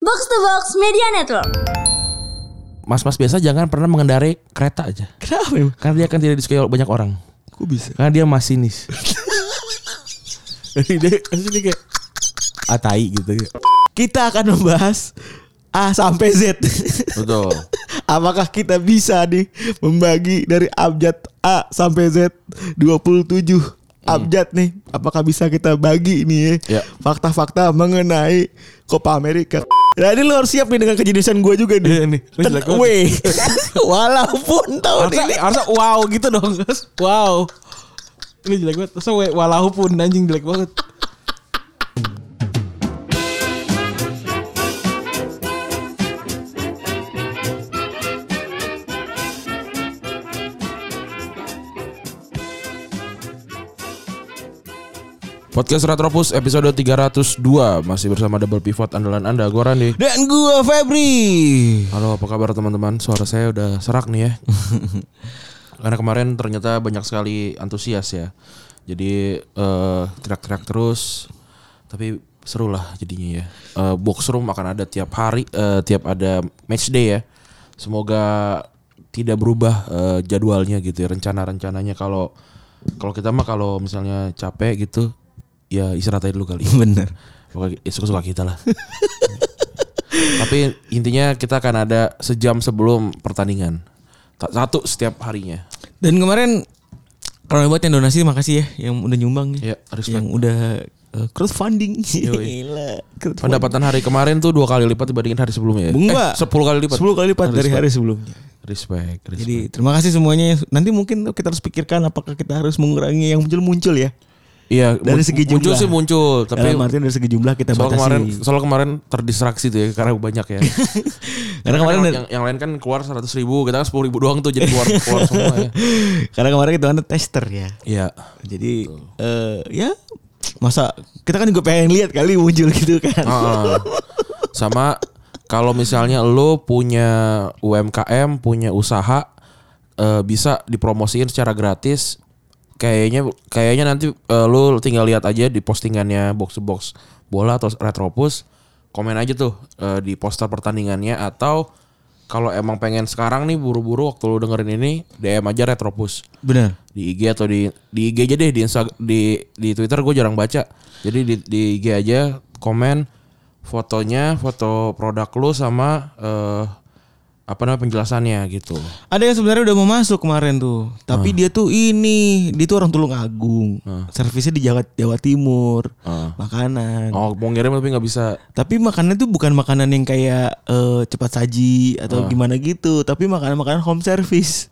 Box to Box Media Network. Mas-mas biasa jangan pernah mengendarai kereta aja. Kenapa emang? Karena dia akan tidak disukai banyak orang. Kok bisa? Karena dia masinis. Jadi dia kasus ini kayak atai gitu. Kita akan membahas A sampai Z. Betul. Apakah kita bisa nih membagi dari abjad A sampai Z 27 Iya. abjad nih? Apakah bisa kita bagi nih Ya. ya fakta-fakta mengenai Copa America? Nah ini lo harus siap nih dengan kejeniusan gue juga nih. Iya nih. Lo Ten- jelek banget. Weh, walaupun tahun Harusnya, ini harusnya wow gitu dong. Wow. Ini jelek banget. Terus we- walaupun anjing jelek banget. Podcast Retropus episode 302 masih bersama double pivot andalan Anda gue Randy. dan gue Febri. Halo, apa kabar teman-teman? Suara saya udah serak nih ya. Karena kemarin ternyata banyak sekali antusias ya. Jadi eh, teriak-teriak terus, tapi seru lah jadinya ya. Eh, box room akan ada tiap hari, eh, tiap ada match day ya. Semoga tidak berubah eh, jadwalnya gitu, ya, rencana-rencananya. Kalau kalau kita mah kalau misalnya capek gitu, ya istirahat aja dulu kali. Bener. Pokoknya ya suka-suka kita lah. Tapi intinya kita akan ada sejam sebelum pertandingan. Ta- Satu setiap harinya. Dan kemarin kalau buat yang donasi makasih ya yang udah nyumbang Ya, respect. yang udah uh, crowdfunding. Yoi. Gila. Pendapatan hari kemarin tuh dua kali lipat dibandingin hari sebelumnya ya. Enggak. sepuluh kali lipat. 10 kali lipat dari hari sebelumnya. Respect. respect. Jadi terima kasih semuanya. Nanti mungkin tuh kita harus pikirkan apakah kita harus mengurangi yang muncul-muncul ya. iya, dari mun- segi muncul jumlah. sih muncul, tapi Tapi Dalam artian dari segi jumlah kita soal batasi. kemarin soal kemarin terdistraksi tuh ya karena banyak ya. karena kemarin yang, yang, yang lain kan keluar seratus ribu, kita kan sepuluh ribu doang tuh jadi keluar keluar semua ya. karena kemarin kita ada tester ya. Iya. Jadi eh ya masa kita kan juga pengen lihat kali muncul gitu kan. Heeh. Ah. Sama kalau misalnya lo punya UMKM, punya usaha eh, bisa dipromosiin secara gratis. Kayaknya kayaknya nanti eh, lo tinggal lihat aja di postingannya box to box bola atau retropus komen aja tuh eh, di poster pertandingannya atau kalau emang pengen sekarang nih buru-buru waktu lo dengerin ini DM aja retropus Benar. di IG atau di di IG aja deh di Insta di di Twitter gue jarang baca jadi di, di IG aja komen fotonya foto produk lu sama eh, apa namanya penjelasannya gitu Ada yang sebenarnya udah mau masuk kemarin tuh, Ah. tapi dia tuh ini, dia tuh orang Tulungagung, servisnya di Jawa, Jawa Timur, Ah. makanan. oh mau ngirim tapi nggak bisa Tapi makanan tuh bukan makanan yang kayak eh, cepat saji Ah. atau gimana gitu, tapi makanan-makanan home service.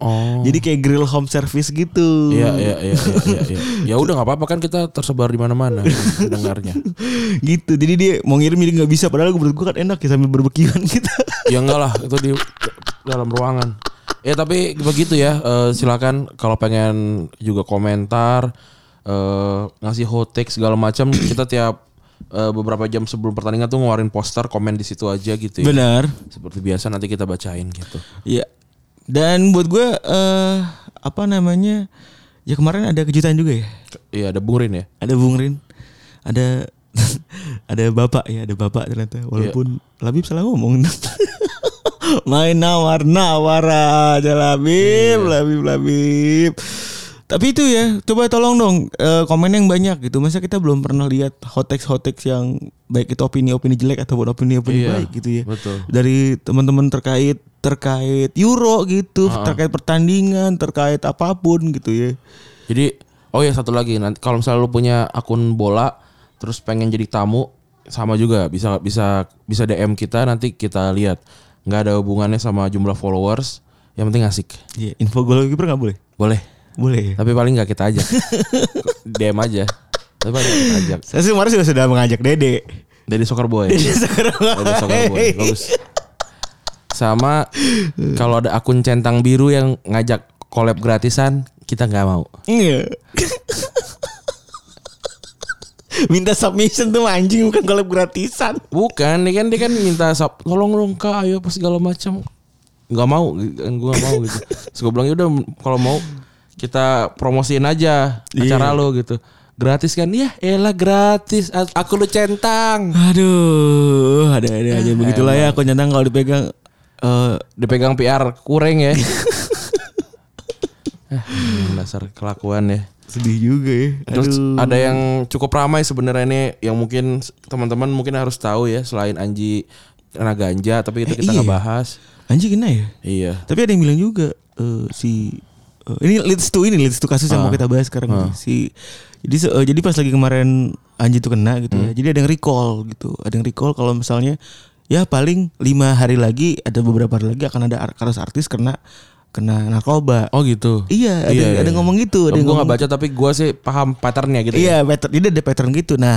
oh Jadi kayak grill home service gitu. Iya iya iya iya iya. iya. Ya udah nggak apa-apa kan kita tersebar di mana-mana dengarnya. gitu. Jadi dia mau ngirim jadi nggak bisa. Padahal menurut gue kan enak ya sambil berbekian kita. Ya enggak lah itu di dalam ruangan. Ya tapi begitu ya. eh, silakan kalau pengen juga komentar eh, ngasih hot take segala macam kita tiap eh, beberapa jam sebelum pertandingan tuh ngeluarin poster komen di situ aja gitu ya. Benar. Seperti biasa nanti kita bacain gitu. Iya. Dan buat gue eh apa namanya? Ya kemarin ada kejutan juga ya. Iya ada Bung Rin ya. ada Bung Rin, ada ada bapak ya, ada bapak ternyata. Walaupun Labib salah ngomong. Main nawar-nawar aja Labib, Labib, Labib. Tapi itu ya, coba tolong dong eh, komen yang banyak gitu. Masa kita belum pernah lihat hotex-hotex yang baik itu opini-opini jelek ataupun opini-opini Iya, baik gitu ya. betul. Dari teman-teman terkait terkait Euro gitu, terkait pertandingan, terkait apapun gitu ya. Jadi oh ya satu lagi nanti kalau misalnya lu punya akun bola terus pengen jadi tamu sama juga bisa bisa bisa DM kita nanti kita lihat nggak ada hubungannya sama jumlah followers yang penting asik Iya, info gol kiper nggak boleh. boleh Boleh ya. tapi paling nggak kita aja DM aja tapi paling nggak kita ajak Saya sih kemarin sudah, sudah mengajak Dede. dari soccer boy Dede sekarang. dari soccer boy bagus sama kalau ada akun centang biru yang ngajak collab gratisan kita nggak mau Iya. Minta submission tuh anjing bukan collab gratisan. Bukan, dia kan dia kan minta sub, tolong dong kak, ayo apa segala macam. Gak mau, kan gue gak mau "Ya Iya. gitu. Terus gue bilang yaudah kalau mau kita promosiin aja acara lo gitu. Gratis kan? Ya, elah gratis. A- Aku lu centang. Aduh, ada ada aja begitulah ya aku nyentang kalau dipegang eh Dipegang PR kurang ya. Ah, dasar kelakuan ya. sedih juga ya. Terus Aduh. ada yang cukup ramai sebenarnya ini yang mungkin s- teman-teman mungkin harus tahu ya selain Anji kena ganja tapi itu Eh, kita iya. nggak bahas. Anjing kena ya? Iya. Tapi ada yang bilang juga eh, si eh, ini leads to ini leads to kasus yang mau kita bahas sekarang nih. si jadi se- eh, jadi pas lagi kemarin Anji tuh kena gitu ya. Jadi ada yang recall gitu. Ada yang recall kalau misalnya ya paling lima hari lagi ada beberapa hari lagi akan ada ar- kasus artis kena kena narkoba. Oh gitu. Iya, ada, ada yang ngomong gitu, Gue ada yang nggak ngomong baca tapi gue sih paham patternnya gitu. ya. Iya, pattern jadi ada pattern gitu. Nah,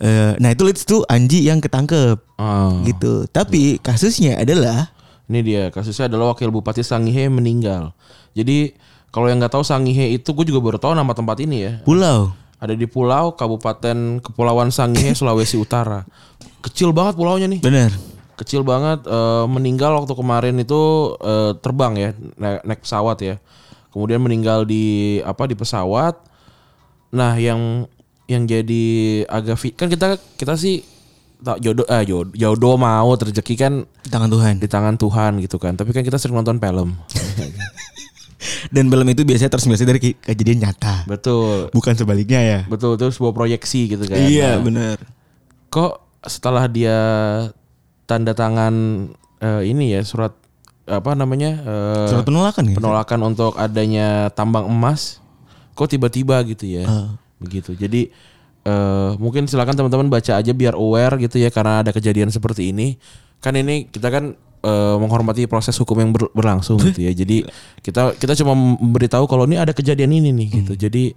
eh, nah itu leads to Anji yang ketangkep Ah, gitu. Tapi kasusnya adalah ini dia kasusnya adalah wakil bupati Sangihe meninggal. Jadi kalau yang nggak tahu Sangihe itu gue juga baru tahu nama tempat ini ya. pulau. Ada di pulau Kabupaten Kepulauan Sangihe Sulawesi Utara. Kecil banget pulaunya nih. Bener. kecil banget eh, meninggal waktu kemarin itu eh, terbang ya na- naik pesawat ya kemudian meninggal di apa di pesawat nah yang yang jadi agak fi- kan kita kita sih tak jodoh ah jodoh, jodoh mau rezeki kan Di Tangan Tuhan. di tangan Tuhan gitu kan tapi kan kita sering nonton film Dan film itu biasanya tersimulasi dari ke- kejadian nyata. betul Bukan sebaliknya ya. betul itu sebuah proyeksi gitu kan Nah, Iya, bener. kok setelah dia tanda tangan eh, ini ya surat apa namanya eh, Surat penolakan ya. penolakan untuk adanya tambang emas kok tiba-tiba gitu ya Ah. begitu jadi eh, mungkin silakan teman-teman baca aja biar aware gitu ya karena ada kejadian seperti ini kan ini kita kan eh, menghormati proses hukum yang ber- berlangsung gitu ya jadi kita kita cuma memberitahu kalau ini ada kejadian ini nih gitu jadi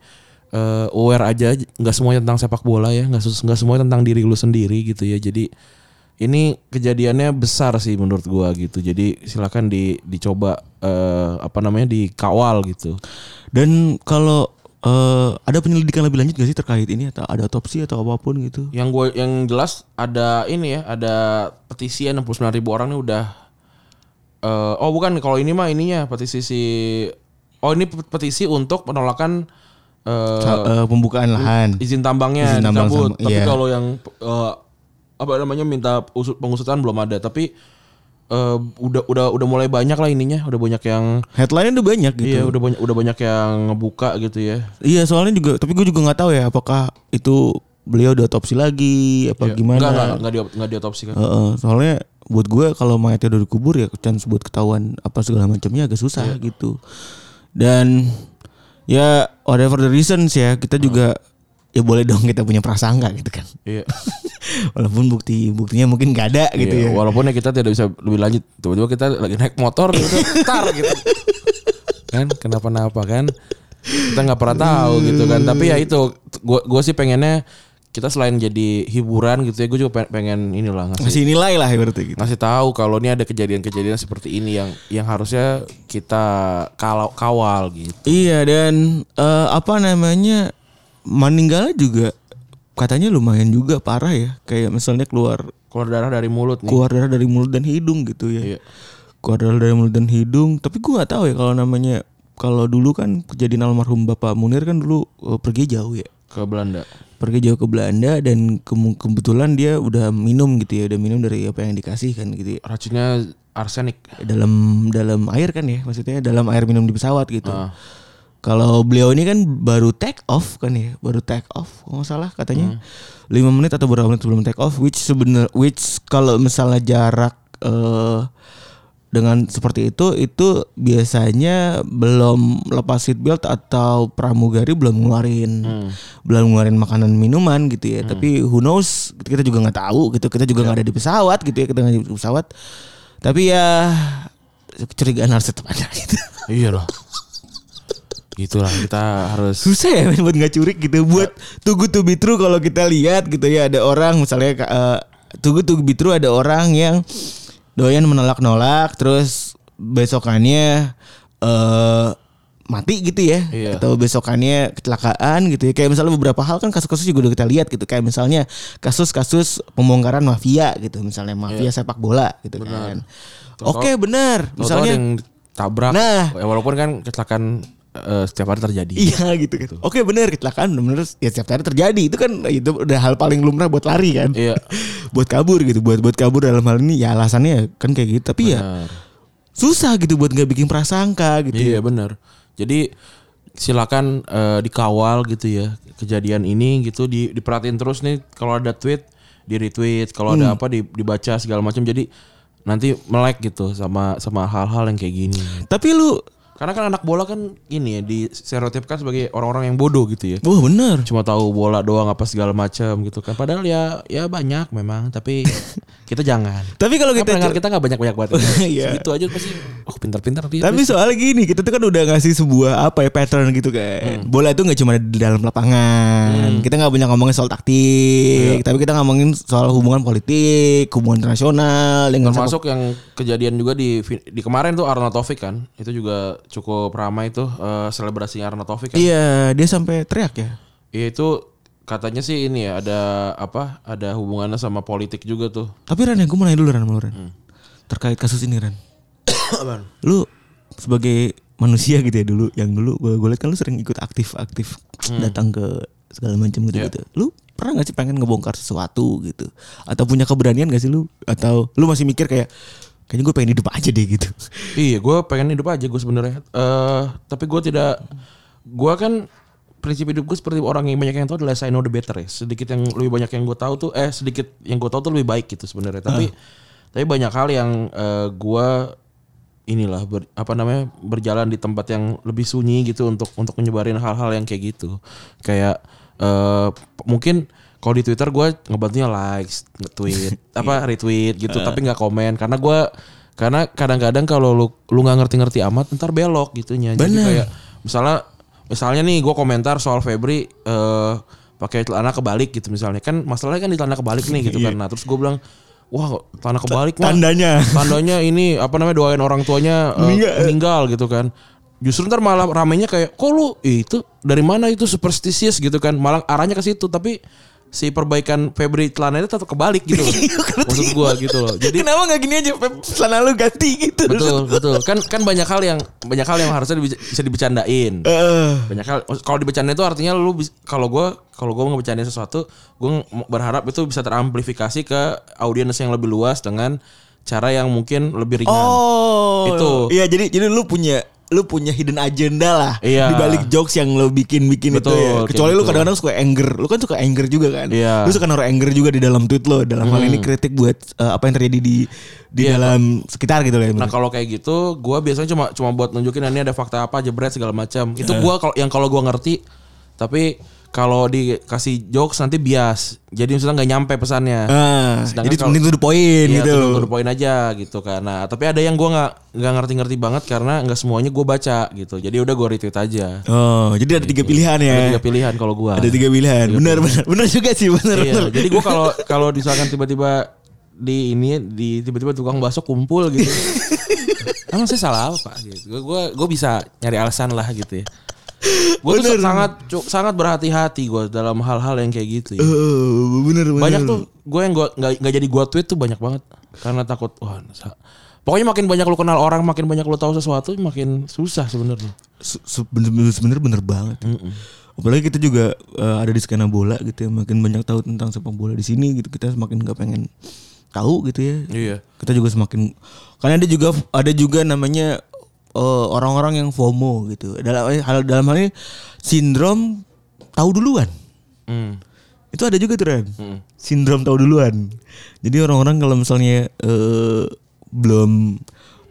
eh, aware aja nggak semuanya tentang sepak bola ya nggak sus- nggak semuanya tentang diri lu sendiri gitu ya jadi ini kejadiannya besar sih menurut gua gitu jadi silakan di dicoba eh, apa namanya dikawal gitu Dan kalau eh, ada penyelidikan lebih lanjut gak sih terkait ini atau ada otopsi atau apapun gitu? yang gue yang jelas ada ini ya ada petisi ya 69 ribu orang nih udah eh, oh bukan kalau ini mah ininya petisi si oh ini pe- petisi untuk penolakan eh, Sa- eh, pembukaan lahan. izin tambangnya Izin tambang dicabut. sama- tapi iya. kalau yang eh, apa namanya minta usut- pengusutan belum ada tapi eh, udah udah udah mulai banyak lah ininya udah banyak yang Headline udah banyak gitu. Iya udah banyak udah banyak yang ngebuka gitu ya. Iya soalnya juga tapi gue juga nggak tahu ya apakah itu beliau diotopsi lagi apa gimana. Enggak enggak enggak, diop- enggak diotopsi kan. Heeh, soalnya buat gue kalau mayatnya udah dikubur ya chance buat ketahuan apa segala macamnya agak susah Iya. gitu. Dan ya whatever the reasons ya kita juga ya boleh dong kita punya prasangka gitu kan. Iya. Walaupun bukti buktinya mungkin gak ada gitu Iya, ya. Walaupun ya kita tidak bisa lebih lanjut. Tiba-tiba kita lagi naik motor gitu, tar gitu. Kan kenapa-napa kan? Kita nggak pernah tahu gitu kan. Tapi ya itu gua gua sih pengennya kita selain jadi hiburan gitu ya, gue juga pe- pengen inilah ngasih Masih nilai lah berarti gitu. ngasih tahu kalau ini ada kejadian-kejadian seperti ini yang yang harusnya kita kalau kawal gitu. Iya dan eh, apa namanya meninggalnya juga katanya lumayan juga parah ya. Kayak misalnya keluar Keluar darah dari mulut nih. keluar darah dari mulut dan hidung gitu ya. Iya. Keluar darah dari mulut dan hidung. Tapi gue nggak tahu ya kalau namanya kalau dulu kan kejadian almarhum Bapak Munir kan dulu eh, pergi jauh ya. Ke Belanda. Pergi jauh ke Belanda dan kemu- kebetulan dia udah minum gitu ya, udah minum dari apa yang dikasih kan gitu ya. Racunnya arsenik. Dalam dalam air kan ya, maksudnya dalam air minum di pesawat gitu. Kalau beliau ini kan baru take off kan ya, baru take off kalau nggak salah katanya lima menit atau berapa menit sebelum take off, which sebenar which kalau misalnya jarak eh, dengan seperti itu itu biasanya belum lepas seatbelt atau pramugari belum ngeluarin belum ngeluarin makanan minuman gitu ya, tapi who knows kita juga nggak tahu gitu, kita juga nggak ada di pesawat gitu ya, kita nggak ada di pesawat, tapi ya kecurigaan harus tetap ada gitu. Iya loh. Gitulah kita harus susah ya men, buat nggak curik gitu buat tugu to be true kalau kita lihat gitu ya ada orang misalnya eh, tugu to be true ada orang yang doyan menolak nolak terus besokannya eh mati gitu ya Iya. atau besokannya kecelakaan gitu ya kayak misalnya beberapa hal kan kasus-kasus juga udah kita lihat gitu kayak misalnya kasus-kasus pembongkaran mafia gitu misalnya mafia Iya. sepak bola gitu kan oke benar misalnya misalnya yang tabrak. Nah. Ya, Walaupun kan kecelakaan eh, setiap hari terjadi. Iya gitu kan. Oke bener kecelakaan bener ya setiap hari terjadi itu kan itu udah hal paling lumrah buat lari kan. Iya. buat kabur gitu, buat buat kabur dalam hal ini ya alasannya ya kan kayak gitu tapi ya Benar. susah gitu buat nggak bikin prasangka gitu. Iya benar. Jadi silakan eh, dikawal gitu ya kejadian ini gitu di diperhatiin terus nih kalau ada tweet di retweet kalau Hmm. ada apa di- dibaca segala macam jadi nanti melek gitu sama sama hal-hal yang kayak gini. Tapi lu Karena kan anak bola kan ini ya distereotipkan sebagai orang-orang yang bodoh gitu ya. Wah bener Cuma tahu bola doang apa segala macam gitu kan. Padahal ya ya banyak memang tapi kita jangan. Tapi kalau Kan kita pendengar kita nggak banyak-banyak banget. Oh, gitu, Iya. Segitu aja pasti oh pintar-pintar dia. Tapi soal gini kita tuh kan udah ngasih sebuah apa ya pattern gitu Hmm. kan. Bola itu nggak cuma di dalam lapangan. Kita nggak banyak ngomongin soal Iya. taktik, tapi kita ngomongin soal hubungan politik, hubungan internasional dengan Termasuk yang kejadian juga di di kemarin tuh Arna Taufik kan. Itu juga cukup ramai tuh eh, selebrasi Arna Taufik kan. Iya, dia sampai teriak ya. Iya itu katanya sih ini ya ada apa? Ada hubungannya sama politik juga tuh. Tapi Ran, ya, gue mau nanya dulu Ran sama lu, Ran. Hmm. Terkait kasus ini Ran. lu sebagai manusia gitu ya dulu, yang dulu gue gue liat kan lu sering ikut aktif-aktif Hmm. datang ke segala macam gitu Iya. gitu. Lu pernah gak sih pengen ngebongkar sesuatu gitu? Atau punya keberanian gak sih lu? Atau lu masih mikir kayak kayaknya gue pengen hidup aja deh gitu. Iya, gue pengen hidup aja gue sebenarnya. Eh, tapi gue tidak, gue kan prinsip hidup gue seperti orang yang banyak yang tahu adalah I know the better ya. Sedikit yang lebih banyak yang gue tahu tuh, eh sedikit yang gue tahu tuh lebih baik gitu sebenarnya. Tapi tapi banyak hal yang eh, gue inilah ber- apa namanya berjalan di tempat yang lebih sunyi gitu untuk untuk menyebarin hal-hal yang kayak gitu. Kayak eh, p- mungkin kalau di Twitter gue ngebantunya likes, tweet, apa retweet gitu, tapi nggak komen karena gue karena kadang-kadang kalau lu lu nggak ngerti-ngerti amat ntar belok gitunya jadi Bener. kayak misalnya misalnya nih gue komentar soal Febri eh pakai celana kebalik gitu misalnya kan masalahnya kan di celana kebalik nih gitu kan nah terus gue bilang wah celana kebalik mah Iya. Tandanya. tandanya ini apa namanya doain orang tuanya eh, Meninggal. meninggal gitu kan justru ntar malah ramenya kayak kok lu eh, itu dari mana itu superstitious gitu kan malah arahnya ke situ tapi si perbaikan Febri celananya tetap kebalik gitu loh. Iya, maksud gua gitu loh jadi Kenapa gak gini aja Pep? Celana lu ganti gitu. betul betul kan kan banyak hal yang banyak hal yang harusnya dibic- bisa dibecandain Eh, banyak hal oh, kalau dibecandain itu artinya lu bis- kalau gua kalau gua ngebecandain sesuatu gua ng- berharap itu bisa teramplifikasi ke audiens yang lebih luas dengan cara yang mungkin lebih ringan Oh, Nah, Itu. Iya, jadi jadi lu punya lu punya hidden agenda lah Iya. di balik jokes yang lu bikin-bikin itu Betul, ya. kayak Kecuali lu gitu. kadang-kadang suka anger. Lu kan suka anger juga kan? Iya. Hmm. Lu suka naruh anger juga di dalam tweet lo. Dalam hal ini kritik buat eh, apa yang terjadi di di dalam sekitar gitu kan. Iya. Nah kalau kayak gitu, gua biasanya cuma cuma buat nunjukin nah, ini ada fakta apa jebret segala macam. Itu gua kalau yang kalau gua ngerti, tapi kalau dikasih jokes nanti bias. Jadi misalnya nggak nyampe pesannya. Ah, Sedangkan jadi kalau- penting tuh poin Iya, gitu. to the point aja gitu kan. Nah, tapi ada yang gua nggak nggak ngerti-ngerti banget karena nggak semuanya gua baca gitu. Jadi udah gua retweet aja. Oh, jadi ada tiga pilihan ya. Iya. Ada tiga pilihan kalau gua. Ada tiga pilihan. Benar, benar. Benar juga sih, benar, Iya, benar. jadi gua kalau kalau misalkan tiba-tiba di ini di tiba-tiba tukang bakso kumpul gitu. Emang saya salah apa gitu. Gua gua, gua bisa nyari alasan lah gitu ya. Gue tuh sangat cu- sangat berhati-hati gua dalam hal-hal yang kayak gitu. Ya. Oh, benar, benar. Banyak tuh gue yang gua nggak nggak jadi gua tweet tuh banyak banget karena takut wah sa- Pokoknya makin banyak lu kenal orang, makin banyak lu tahu sesuatu, makin susah sebenarnya. Se- se- bener- sebenernya bener banget. Apalagi kita juga eh, ada di skena bola gitu ya, makin banyak tahu tentang sepak bola di sini gitu, kita semakin nggak pengen tahu gitu ya. Iya. Kita juga semakin karena ada juga ada juga namanya eh, orang-orang yang FOMO gitu. Dalam hal dalam hal ini sindrom tahu duluan. Hmm. Itu ada juga tuh Ren. Sindrom tahu duluan. Jadi orang-orang kalau misalnya eh, belum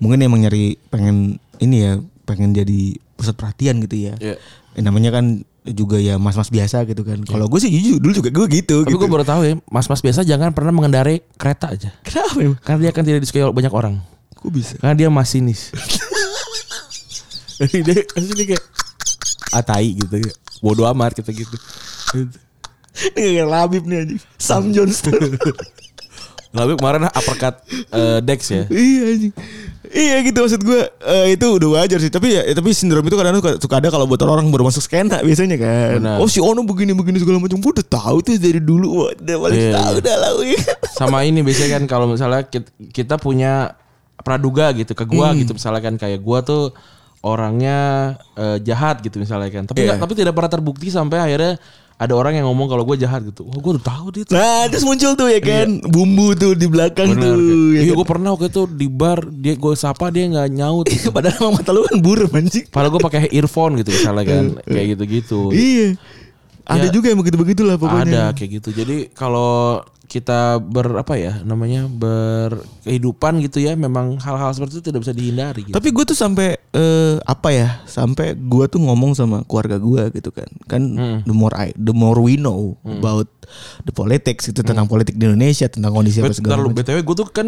mungkin emang nyari pengen ini ya, pengen jadi pusat perhatian gitu ya. Iya. Eh, namanya kan juga ya mas-mas biasa gitu kan. Kalau gue sih jujur dulu juga gue Tapi gitu. gitu. gue baru tahu ya, mas-mas biasa jangan pernah mengendarai kereta aja. Kenapa emang? Karena dia akan tidak disukai banyak orang. Kok bisa? Karena dia masinis. Jadi dia kasih dia kayak gitu. atai gitu kayak bodoh amat gitu gitu. Ini kayak Labib nih anjing. Sam Johnston. Lalu kemarin uppercut eh, Dex ya. iya anjing. Iya gitu maksud gue eh, itu udah wajar sih tapi ya tapi sindrom itu kadang suka, suka ada kalau buat orang baru masuk skena biasanya kan. Benar. Oh si Ono begini begini segala macam gue udah tahu tuh dari dulu Wah, udah paling Iya. tahu dah lah. wih. Sama ini biasanya kan Hmm. kalau misalnya kit- kita punya praduga gitu ke gua gitu misalnya kan kayak gua tuh orangnya eh, jahat gitu misalnya kan. Tapi Iya. nggak- tapi tidak pernah terbukti sampai akhirnya ada orang yang ngomong kalau gue jahat gitu. Wah, gue udah tahu dia tuh. Nah terus muncul tuh ya kan bumbu tuh di belakang Bener, tuh. kayak, ya Iya, kan? gue pernah waktu itu di bar dia gue sapa dia nggak nyaut. Padahal emang mata lu kan burem anjing. Padahal gue pakai earphone gitu misalnya kan, kayak gitu-gitu. Iya. Ya. Ada juga yang begitu begitulah Ada pokoknya. kayak gitu. Jadi kalau kita ber apa ya namanya berkehidupan gitu ya, memang hal-hal seperti itu tidak bisa dihindari. Gitu. Tapi gue tuh sampai eh, apa ya? Sampai gue tuh ngomong sama keluarga gue gitu kan. Kan the more I, the more we know about the politics itu tentang politik di Indonesia, tentang kondisi apa Bet- segala bentar lu, macam. btw gue tuh kan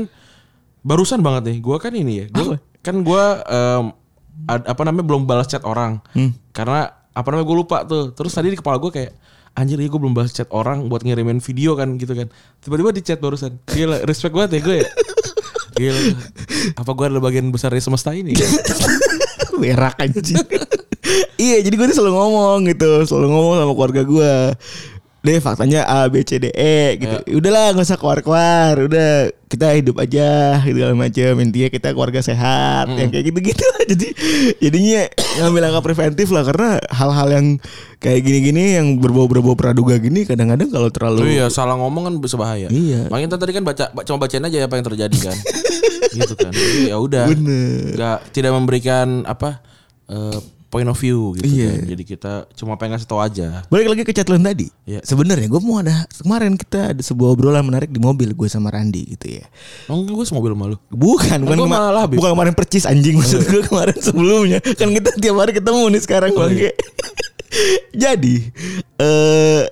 barusan banget nih. Gue kan ini ya. Gua, kan gue apa namanya belum balas chat orang Hmm. karena apa namanya gue lupa tuh. Terus tadi di kepala gue kayak anjir ya gue belum balas chat orang buat ngirimin video kan gitu kan. Tiba-tiba di chat barusan. Gila respect banget ya gue ya. Gila. Apa gue adalah bagian besar dari semesta ini? Berak anjing. iya, jadi gue tuh selalu ngomong gitu, selalu ngomong sama keluarga gue. Deh faktanya A B C D E gitu. Ya. Udahlah nggak usah keluar-keluar, udah kita hidup aja gitu segala macam. Intinya kita keluarga sehat, Hmm. yang kayak gitu-gitu lah. Jadi jadinya ngambil langkah preventif lah karena hal-hal yang kayak gini-gini yang berbau-berbau praduga gini kadang-kadang kalau Oh terlalu iya, salah ngomong kan bisa bahaya. Iya. Makanya tadi kan baca ba- cuma bacain aja apa yang terjadi kan. gitu kan. Jadi ya udah. Bener. Nggak- tidak memberikan apa eh, point of view gitu Iya. kan. Jadi kita cuma pengen ngasih tahu aja. Balik lagi ke chatlan tadi. Iya. Sebenarnya gue mau ada kemarin kita ada sebuah obrolan menarik di mobil gue sama Randi gitu ya. Emang gue semobil malu. Kan Bukan, bukan, Gua kema- malah habis. Iya. bukan kemarin percis anjing maksud gue kemarin sebelumnya. Kan kita tiap hari ketemu nih sekarang Oh, iya. bangke. Jadi eh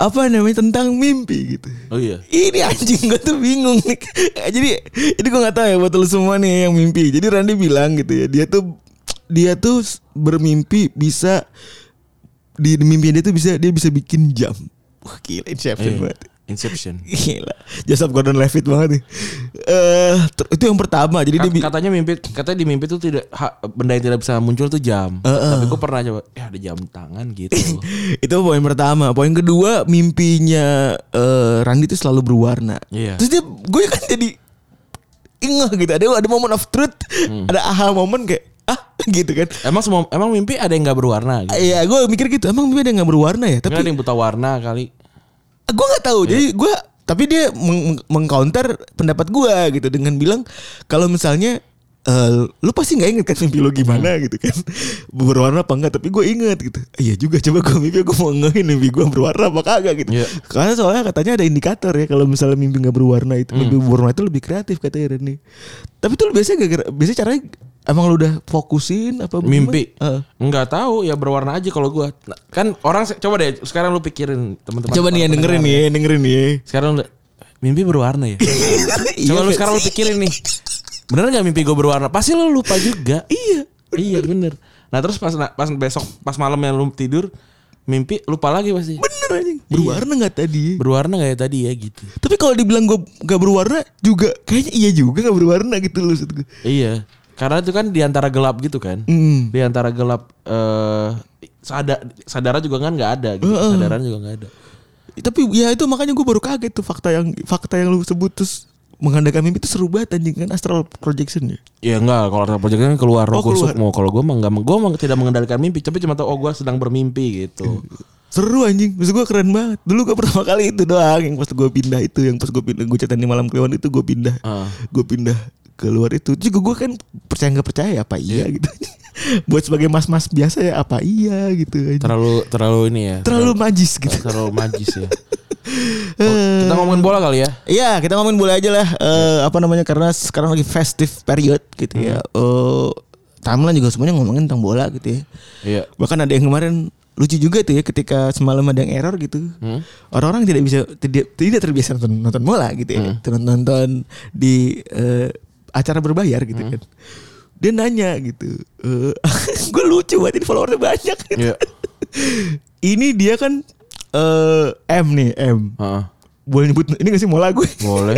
apa namanya tentang mimpi gitu. Oh iya. Ini anjing gue tuh bingung nih. Jadi ini gue nggak tahu ya buat lu semua nih yang mimpi. Jadi Randy bilang gitu ya, dia tuh dia tuh bermimpi bisa di di mimpi dia tuh bisa dia bisa bikin jam. Wah gila inception Iya. banget. Inception. Gila, Joseph Gordon-Levitt banget nih. Eh, ter- itu yang pertama. Jadi dia Kat- bi- katanya mimpi katanya di mimpi tuh tidak ha- benda yang tidak bisa muncul tuh jam. Tapi gue pernah coba ya ada jam tangan gitu. itu poin pertama. Poin kedua, mimpinya eh, Randy itu selalu berwarna. Iya. Terus dia gue kan jadi ingeh gitu. Ada ada moment of truth, Hmm. ada aha moment kayak ah gitu kan. emang semua emang mimpi ada yang nggak berwarna gitu. Iya, gue mikir gitu. Emang mimpi ada yang gak berwarna ya? Mungkin Tapi ada yang buta warna kali. gue nggak tahu jadi gue tapi dia meng- meng- mengcounter pendapat gue gitu dengan bilang kalau misalnya eh, lu pasti nggak inget kan mimpi lu gimana gitu kan berwarna apa enggak tapi gue inget gitu iya juga coba gue mimpi gue mau ngehin mimpi gue berwarna apa kagak gitu Iya. karena soalnya katanya ada indikator ya kalau misalnya mimpi nggak berwarna itu mimpi berwarna itu lebih kreatif katanya Reni tapi tuh lu biasanya gak biasanya caranya emang lu udah fokusin apa Eh. bagaimana? mimpi Heeh. nggak tahu ya berwarna aja kalau gua Nah, kan orang se- coba deh sekarang lu pikirin teman-teman coba nih ya, dengerin nih ya, dengerin nih ya. sekarang lu- mimpi berwarna ya coba Iya, lu Fe. sekarang lu pikirin nih bener nggak mimpi gue berwarna pasti lu lupa juga iya iya bener nah terus pas pas besok pas malam yang lu tidur mimpi lupa lagi pasti bener anjing berwarna nggak tadi berwarna nggak ya tadi ya gitu Tapi kalau dibilang gue gak berwarna juga kayaknya iya juga gak berwarna gitu loh maksud gue. Iya, karena itu kan di antara gelap gitu kan. Mm. Di antara gelap eh sadar sadara juga kan nggak ada gitu. Sadaran juga nggak ada. Tapi ya itu makanya gue baru kaget tuh fakta yang fakta yang lu sebut terus mengandalkan mimpi itu seru banget anjing kan astral projection ya. Ya enggak, kalau ada proyeknya keluar Oh, oh, gue keluar. mau kalau gue mah enggak gue mah tidak mengendalikan mimpi, tapi cuma tahu oh gue sedang bermimpi gitu. Seru anjing, maksud gue keren banget. Dulu gue pertama kali itu doang yang pas gue pindah itu, yang pas gue pindah gue catatan di malam kliwon itu gue pindah, Ah. gue pindah keluar itu. Juga gue kan percaya nggak percaya apa iya gitu. Buat sebagai mas-mas biasa ya apa iya gitu. anjing. Terlalu terlalu ini ya. Terlalu majis gitu. terlalu magis ya. Oh, kita ngomongin bola kali ya. Iya, kita ngomongin bola aja lah. Eh, apa namanya? Karena sekarang lagi festive period gitu ya. Eh, timeline juga semuanya ngomongin tentang bola gitu ya. Iya. Bahkan ada yang kemarin lucu juga tuh ya ketika semalam ada yang error gitu. Orang-orang tidak bisa tidak tidak terbiasa nonton, nonton bola gitu ya. Nonton, nonton di eh, acara berbayar gitu kan. Dia nanya gitu. Eh, gue lucu banget ini followernya banyak. Gitu. Iya. ini dia kan eh M nih, M. Heeh. Boleh nyebut ini gak sih mola gue? Boleh.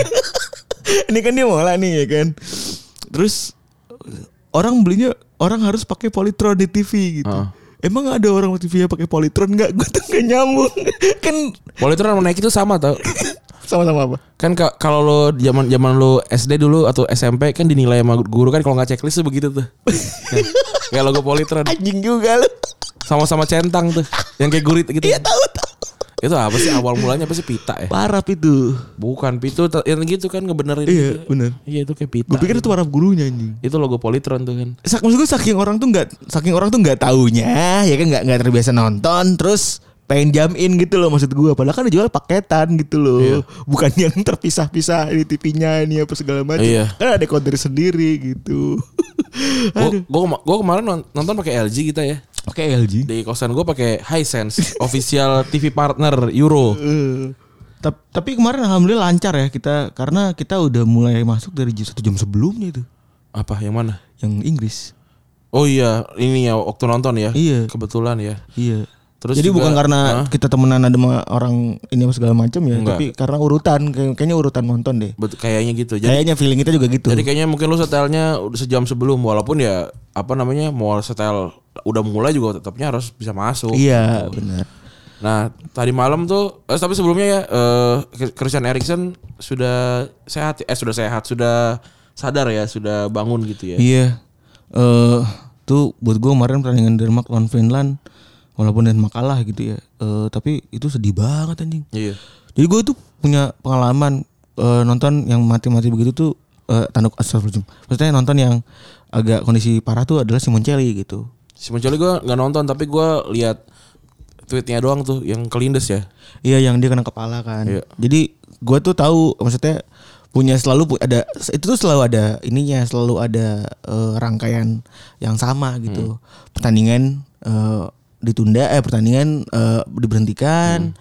ini kan dia mola nih ya kan. Terus orang belinya orang harus pakai Polytron di TV gitu. Heeh. Emang ada orang TV yang pakai Polytron nggak? Gue tuh nggak nyambung. kan Boleh itu sama naik itu sama tau. Sama-sama apa? Kan ka- kalau lo zaman zaman lo SD dulu atau SMP kan dinilai sama guru kan kalau nggak checklist tuh begitu tuh. Kan? Kayak logo Politron Anjing juga lu. sama-sama centang tuh yang kayak gurit gitu. Iya tahu tahu. Itu apa sih awal mulanya apa sih pita ya? Paraf itu. Bukan pitu ta- yang gitu kan ngebenerin. Iya, bener. Iya itu kayak pita. Gue pikir itu paraf gurunya anjing. itu logo Politron tuh kan. Sak maksud gue saking orang tuh nggak saking orang tuh nggak taunya ya kan nggak nggak terbiasa nonton terus pengen jam in gitu loh maksud gue padahal kan dijual paketan gitu loh Iya. bukan yang terpisah-pisah di TV-nya ini apa segala macam Iya. kan ada konten sendiri gitu Gue gue kemarin non- nonton pakai LG kita ya. oke LG Di kosan gue pakai Hisense official TV partner Euro. Eh. Tap- tapi kemarin alhamdulillah lancar ya kita karena kita udah mulai masuk dari jam- satu jam sebelumnya itu Apa yang mana? yang Inggris Oh iya, ini ya waktu nonton ya. Iya. Kebetulan ya. iya Terus Jadi juga- bukan karena Hah? kita temenan ada sama orang ini apa segala macam ya, Enggak. tapi karena urutan Kay- kayaknya urutan nonton deh. Betul, kayaknya gitu. Jadi Kayaknya feeling kita juga gitu. jadi kayaknya mungkin lu setelnya udah sejam sebelum walaupun ya apa namanya mau setel udah mulai juga tetapnya harus bisa masuk. iya, benar. Nah, tadi malam tuh eh, tapi sebelumnya ya eh, Christian Eriksen sudah sehat eh sudah sehat, sudah sadar ya, sudah bangun gitu ya. Iya. Eh tuh buat gue kemarin pertandingan Denmark lawan Finland walaupun Denmark kalah gitu ya. Eh tapi itu sedih banget anjing. Iya. Jadi gue tuh punya pengalaman eh, nonton yang mati-mati begitu tuh eh tanduk astagfirullahaladzim. Maksudnya nonton yang agak kondisi parah tuh adalah Simoncelli gitu. Si Mencoli gue nggak nonton tapi gue lihat tweetnya doang tuh yang kelindes ya. Iya yang dia kena kepala kan. Iya. Jadi gue tuh tahu maksudnya punya selalu pu- ada itu tuh selalu ada ininya selalu ada eh, rangkaian yang sama gitu. Hmm. Pertandingan eh, ditunda eh pertandingan eh, Hmm. diberhentikan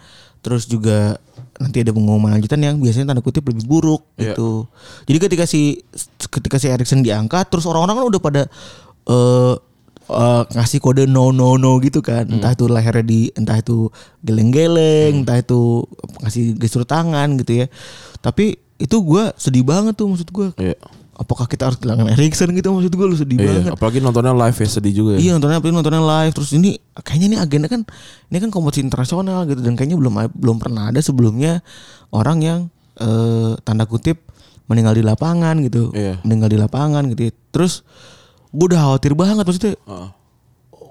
terus juga nanti ada pengumuman lanjutan yang biasanya tanda kutip lebih buruk Iya. gitu. Jadi ketika si ketika si Erikson diangkat terus orang-orang kan udah pada eh eh, ngasih kode no no no gitu kan. Hmm. Entah itu lehernya di entah itu geleng-geleng, entah itu ngasih gestur tangan gitu ya. Tapi itu gua sedih banget tuh maksud gua. Iya. Apakah kita harus kehilangan Erikson gitu maksud gua lu sedih banget. Iya, apalagi nontonnya live ya sedih juga ya. Iya nontonnya apa nontonnya live terus ini kayaknya ini agenda kan ini kan kompetisi internasional gitu dan kayaknya belum belum pernah ada sebelumnya orang yang eh, tanda kutip meninggal di lapangan gitu Iya. meninggal di lapangan gitu ya. terus gue udah khawatir banget maksudnya Heeh.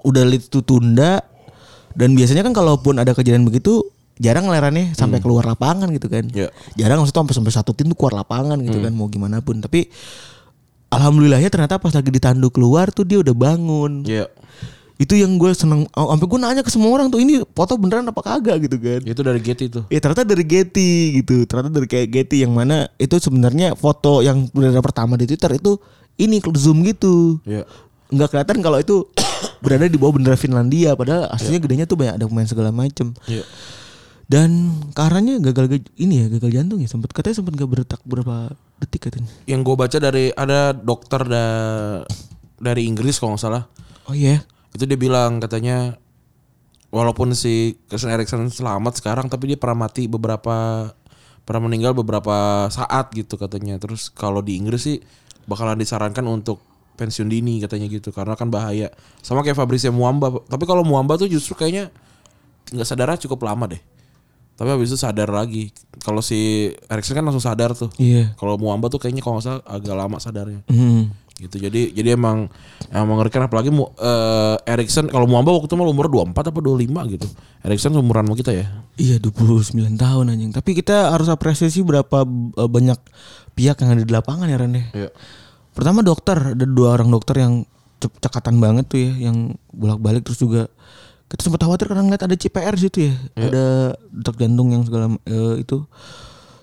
udah itu tunda dan biasanya kan kalaupun ada kejadian begitu jarang lerannya sampai keluar lapangan gitu kan Iya. jarang maksudnya sampai sampai satu tim tuh keluar lapangan gitu kan mau gimana pun tapi alhamdulillahnya ternyata pas lagi ditanduk keluar tuh dia udah bangun Iya. itu yang gue seneng oh, sampai gue nanya ke semua orang tuh ini foto beneran apa kagak gitu kan Itu dari Getty tuh. ya ternyata dari Getty gitu ternyata dari kayak Getty yang mana itu sebenarnya foto yang beredar pertama di Twitter itu ini zoom gitu Iya. nggak kelihatan kalau itu berada di bawah bendera Finlandia padahal aslinya gedenya tuh banyak ada pemain segala macem Iya. dan karanya gagal gaj- ini ya gagal jantung ya sempat katanya sempat gak berdetak berapa detik katanya Yang gue baca dari ada dokter da, dari Inggris kalau nggak salah. oh iya Itu dia bilang katanya walaupun si Christian Eriksen selamat sekarang tapi dia pernah mati beberapa pernah meninggal beberapa saat gitu katanya. Terus kalau di Inggris sih bakalan disarankan untuk pensiun dini katanya gitu karena kan bahaya. Sama kayak Fabrice Muamba. Tapi kalau Muamba tuh justru kayaknya nggak sadar ah, cukup lama deh. Tapi habis itu sadar lagi. Kalau si Eriksen kan langsung sadar tuh. iya Kalau Muamba tuh kayaknya kalau nggak salah agak lama sadarnya. Hmm. Gitu. Jadi jadi emang emang mengerikan apalagi Mu- eh, Erikson kalau Muamba waktu itu malah umur 24 apa 25 gitu. Erikson umuran sama kita ya. Iya 29 tahun anjing. Tapi kita harus apresiasi berapa eh, banyak pihak yang ada di lapangan ya Ren ya. Iya. Pertama dokter, ada dua orang dokter yang cek- cekatan banget tuh ya yang bolak-balik terus juga kita sempat khawatir karena ngeliat ada CPR di situ ya. Ada detak jantung yang segala eh, itu.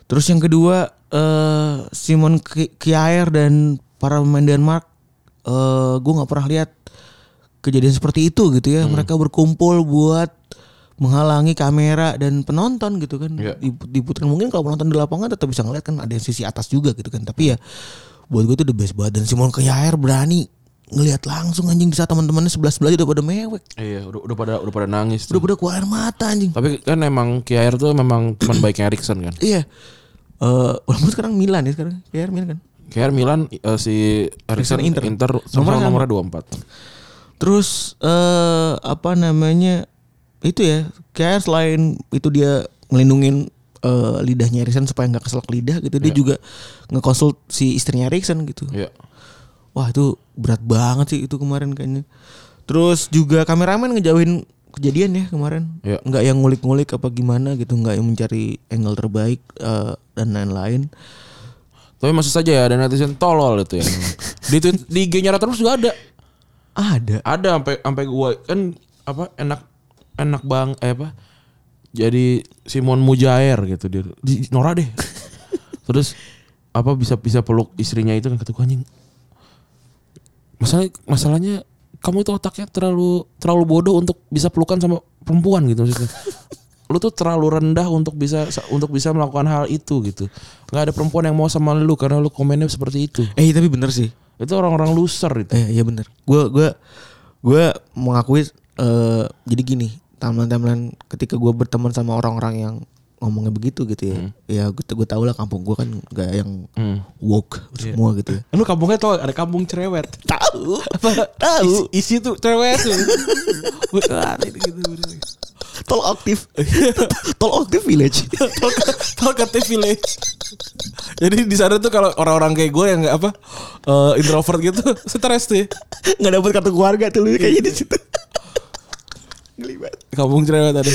Terus yang kedua eh Simon Ki- Kjaer dan para pemain Denmark eh gue nggak pernah lihat kejadian seperti itu gitu ya. Mereka berkumpul buat menghalangi kamera dan penonton gitu kan. Iya. Diput- Diputar mungkin kalau penonton di lapangan tetap bisa ngeliat kan ada yang sisi atas juga gitu kan. Tapi ya buat gue tuh the best banget dan Simon Kjaer berani ngelihat langsung anjing di saat teman-temannya sebelah sebelah udah pada mewek. Iya, udah, udah pada udah pada nangis Udah tuh. pada keluar air mata anjing. Tapi kan emang Kiair tuh memang teman baiknya Erikson kan. Iya. Eh walaupun sekarang Milan ya sekarang Kjaer Milan kan. Kiair Milan eh, si Erikson Eriksen Inter. Inter, nomor nomornya 24. Terus eh apa namanya? Itu ya, kayak selain itu dia ngelindungin eh, lidahnya Erikson supaya nggak keselak lidah gitu. Dia juga ngekonsult si istrinya Erikson gitu. Iya. Wah itu berat banget sih itu kemarin kayaknya. Terus juga kameramen ngejauhin kejadian ya kemarin. Iya. Nggak yang ngulik-ngulik apa gimana gitu, nggak yang mencari angle terbaik eh, dan lain-lain. Tapi maksud saja ya ada netizen tolol itu ya. di tweet- di IG-nya Rata terus juga ada. Ada. Ada sampai sampai gua kan apa enak enak bang eh apa jadi Simon Mujair gitu dia di Nora deh. terus apa bisa bisa peluk istrinya itu kan kata gua anjing. Masalah masalahnya kamu itu otaknya terlalu terlalu bodoh untuk bisa pelukan sama perempuan gitu maksudnya. lu tuh terlalu rendah untuk bisa untuk bisa melakukan hal itu gitu. nggak ada perempuan yang mau sama lu karena lu komennya seperti itu. Eh tapi bener sih. Itu orang-orang loser itu. Eh iya bener. Gue gue gue mengakui eh jadi gini timeline-timeline ketika gue berteman sama orang-orang yang ngomongnya begitu gitu ya. Ya gue gue tau lah kampung gue kan gak yang woke semua gitu ya. Lu kampungnya tau ada kampung cerewet. Tahu. Tahu. Isi, isi tuh cerewet tuh. Wah, ini gitu. Tol aktif. Tol aktif village. Talkative village. Jadi di sana tuh kalau orang-orang kayak gue yang nggak apa eh, introvert gitu stres tuh. Ya. nggak dapat kartu keluarga tuh lu kayaknya di situ. Geli banget. Kampung cerewet ada.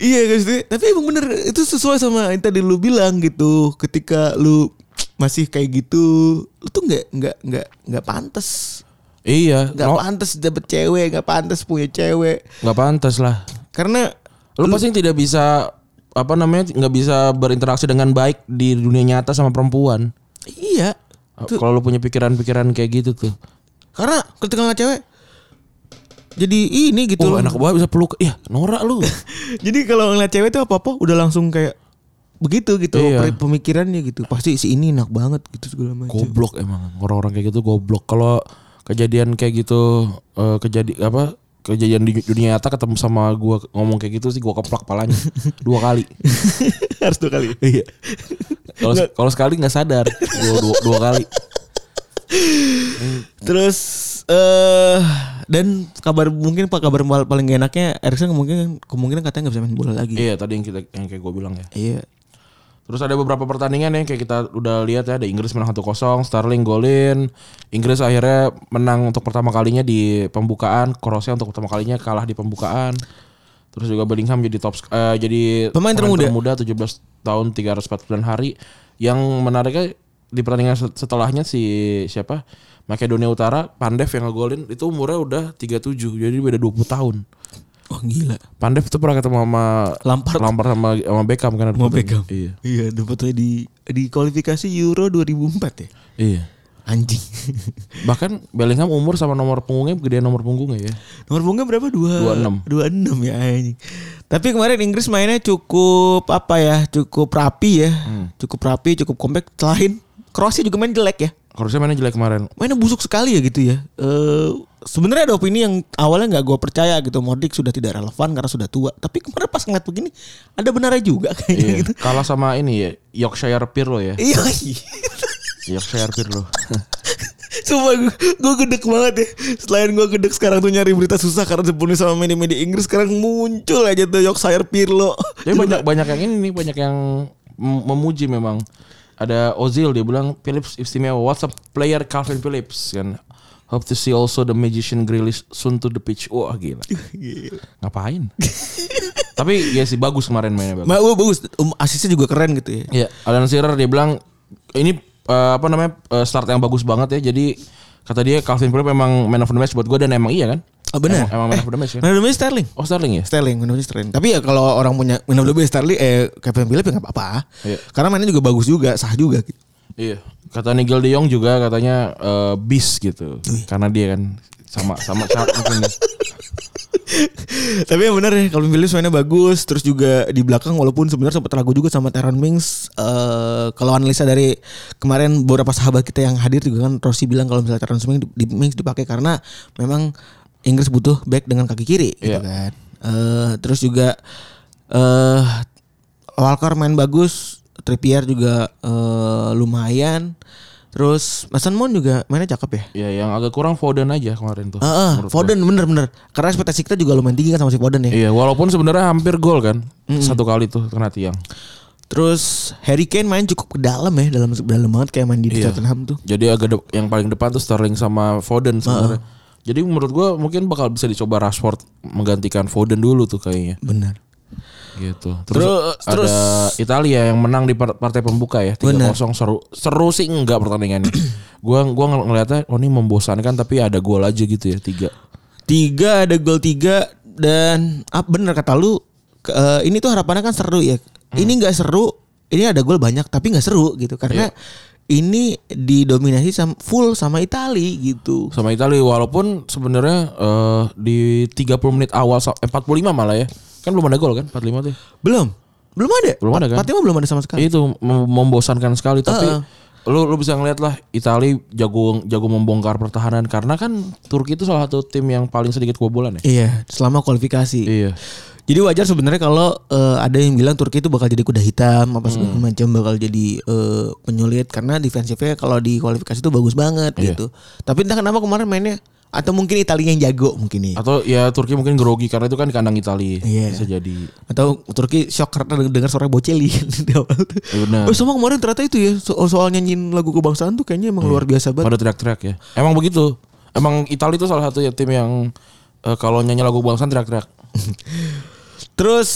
Iya guys, itu- tapi emang bener itu sesuai sama yang tadi lu bilang gitu. Ketika lu masih kayak gitu, lu tuh nggak nggak nggak nggak pantas, Iya, nggak no, pantas dapet cewek, nggak pantas punya cewek. nggak pantas lah. Karena Lu, pasti tidak bisa apa namanya nggak bisa berinteraksi dengan baik di dunia nyata sama perempuan. iya, Kalau lu punya pikiran-pikiran kayak gitu tuh. karena ketika nggak cewek, jadi ini gitu. Tuh loh. enak banget Oh, bisa peluk. Iya, norak lu. Jadi kalau ngeliat cewek tuh apa-apa udah langsung kayak begitu gitu Iya. per- pemikirannya gitu. Pasti si ini enak banget gitu segala macam. goblok emang orang-orang kayak gitu goblok kalau kejadian kayak gitu eh, kejadi apa kejadian di dunia nyata ketemu sama gua ngomong kayak gitu sih gua keplak palanya dua kali Harus dua kali. Iya. kalau kalau sekali nggak sadar gua dua, dua kali Terus eh dan kabar mungkin pak kabar mal- paling gak enaknya Erikson kemungkinan kemungkinan katanya nggak bisa main bola lagi. iya tadi yang kita yang kayak gua bilang ya Iya. terus ada beberapa pertandingan yang kayak kita udah lihat ya ada Inggris menang 1-0 Sterling golin Inggris akhirnya menang untuk pertama kalinya di pembukaan Kroasia untuk pertama kalinya kalah di pembukaan terus juga Bellingham jadi top sk- eh, jadi Pemain termuda. 17 tahun 349 hari yang menariknya di pertandingan set- setelahnya si siapa Makedonia Utara Pandev yang ngegolin itu umurnya udah 37 jadi beda 20 tahun Oh gila. Pandev tuh pernah ketemu sama Lampard. Lampard sama sama Beckham kan ada Mau pertandingan. pegang. iya Iya, dapatnya di di kualifikasi Euro 2004 ya. iya Anjing. Bahkan Bellingham umur sama nomor punggungnya gedean nomor punggungnya ya. Nomor punggungnya berapa? 26. 2 26 ya anjing. Tapi kemarin Inggris mainnya cukup apa ya? Cukup rapi ya. Cukup rapi, cukup kompak. Selain Kroasia juga main jelek ya. Harusnya mainnya jelek kemarin. mainnya busuk sekali ya gitu ya. Eh Sebenarnya ada opini yang awalnya nggak gue percaya gitu, Modric sudah tidak relevan karena sudah tua. Tapi kemarin pas ngeliat begini, ada benarnya juga kayaknya Iya. gitu. Kalah sama ini ya, Yorkshire Pirlo ya. Iya, Yorkshire Pirlo. cuma gue gedek banget ya. Selain gue gedek sekarang tuh nyari berita susah karena dipenuhi sama media-media Inggris, sekarang muncul aja tuh Yorkshire Pirlo. Tapi banyak banyak yang ini nih, banyak yang mem- memuji memang. Ada Ozil dia bilang Phillips istimewa. What's up player Calvin Phillips kan. Hope to see also the magician Grealish soon to the pitch. Wah gila. Gila. Ngapain? Tapi ya sih bagus kemarin mainnya bagus. Ma, wah, bagus, um, asisnya juga keren gitu Ya, ya. Alan Shearer dia bilang ini eh, apa namanya eh, start yang bagus banget ya. Jadi kata dia Calvin Phillips emang man of the match buat gue dan emang iya kan? Ah, benar. Emang, emang man of the match kan? Nah, namanya Sterling. Oh Sterling ya? Sterling, Windows Sterling. Tapi ya kalau orang punya Windows lebih Sterling, eh Kevin Phillips ya nggak apa-apa. Iya. Karena mainnya juga bagus juga, sah juga. gitu. Iya. Kata Nigel De Jong juga katanya eh, bis gitu. Karena dia kan sama sama sama mungkin ya. Tapi yang benar ya, Kevin Phillips mainnya bagus. Terus juga di belakang, walaupun sebenarnya sempat ragu juga sama Teron Mings. Eh kalau analisa dari kemarin beberapa sahabat kita yang hadir juga kan, Rossi bilang kalau misalnya Teron Mings, di, Mings dipakai karena memang Inggris butuh back dengan kaki kiri, gitu Iya. kan. Eh, terus juga eh Walker main bagus, Trippier juga eh, lumayan. Terus Mason Mount juga mainnya cakep ya. Ya yang agak kurang Foden aja kemarin tuh. Heeh, menurut gua. Foden bener-bener. Karena ekspektasi kita juga lumayan tinggi kan sama si Foden ya. Iya, walaupun sebenarnya hampir gol kan. Satu kali tuh kena tiang. Terus Harry Kane main cukup ke dalam ya, dalam dalam banget kayak main di Iya. Tottenham tuh. Jadi agak de- yang paling depan tuh Sterling sama Foden sebenarnya. Jadi menurut gua mungkin bakal bisa dicoba Rashford menggantikan Foden dulu tuh kayaknya. Bener. Gitu. Terus- Terus, ada Italia yang menang di par- partai pembuka ya 3-0 seru. Seru sih enggak pertandingannya. gua gua ngel- ngeliatnya oh ini membosankan tapi ada gol aja gitu ya tiga. Tiga ada gol tiga dan ah bener kata lu ke- eh, ini tuh harapannya kan seru ya. Hmm. Ini nggak seru, ini ada gol banyak tapi nggak seru gitu karena Iya. ini didominasi sama, full sama Itali gitu. sama Italia walaupun sebenarnya eh, di 30 menit awal sa- eh, 45 malah ya kan belum ada gol kan 45 tuh Belum. Belum ada. Belum ada kan? Fatima belum ada sama sekali. itu mem- membosankan sekali tapi Heeh. lu lu bisa ngeliat lah Italia jago jago membongkar pertahanan karena kan Turki itu salah satu tim yang paling sedikit kebobolan ya Iya, selama kualifikasi. iya Jadi wajar sebenarnya kalau eh, ada yang bilang Turki itu bakal jadi kuda hitam apa Hmm. segala macam bakal jadi eh, penyulit karena defensifnya kalau di kualifikasi itu bagus banget Iya. gitu. Tapi entah kenapa kemarin mainnya atau mungkin Italia yang jago mungkin nih. atau ya Turki mungkin grogi karena itu kan di kandang Italia Iya. bisa jadi Atau Turki shock karena dengar suara Bocelli di awal tuh. Iya, benar. Oh, sama kemarin ternyata itu ya so- soal nyanyiin lagu kebangsaan tuh kayaknya Iya. emang luar biasa banget. pada teriak-teriak ya emang begitu emang Italia itu salah satu ya tim yang eh, kalau nyanyi lagu bangsaan teriak-teriak Terus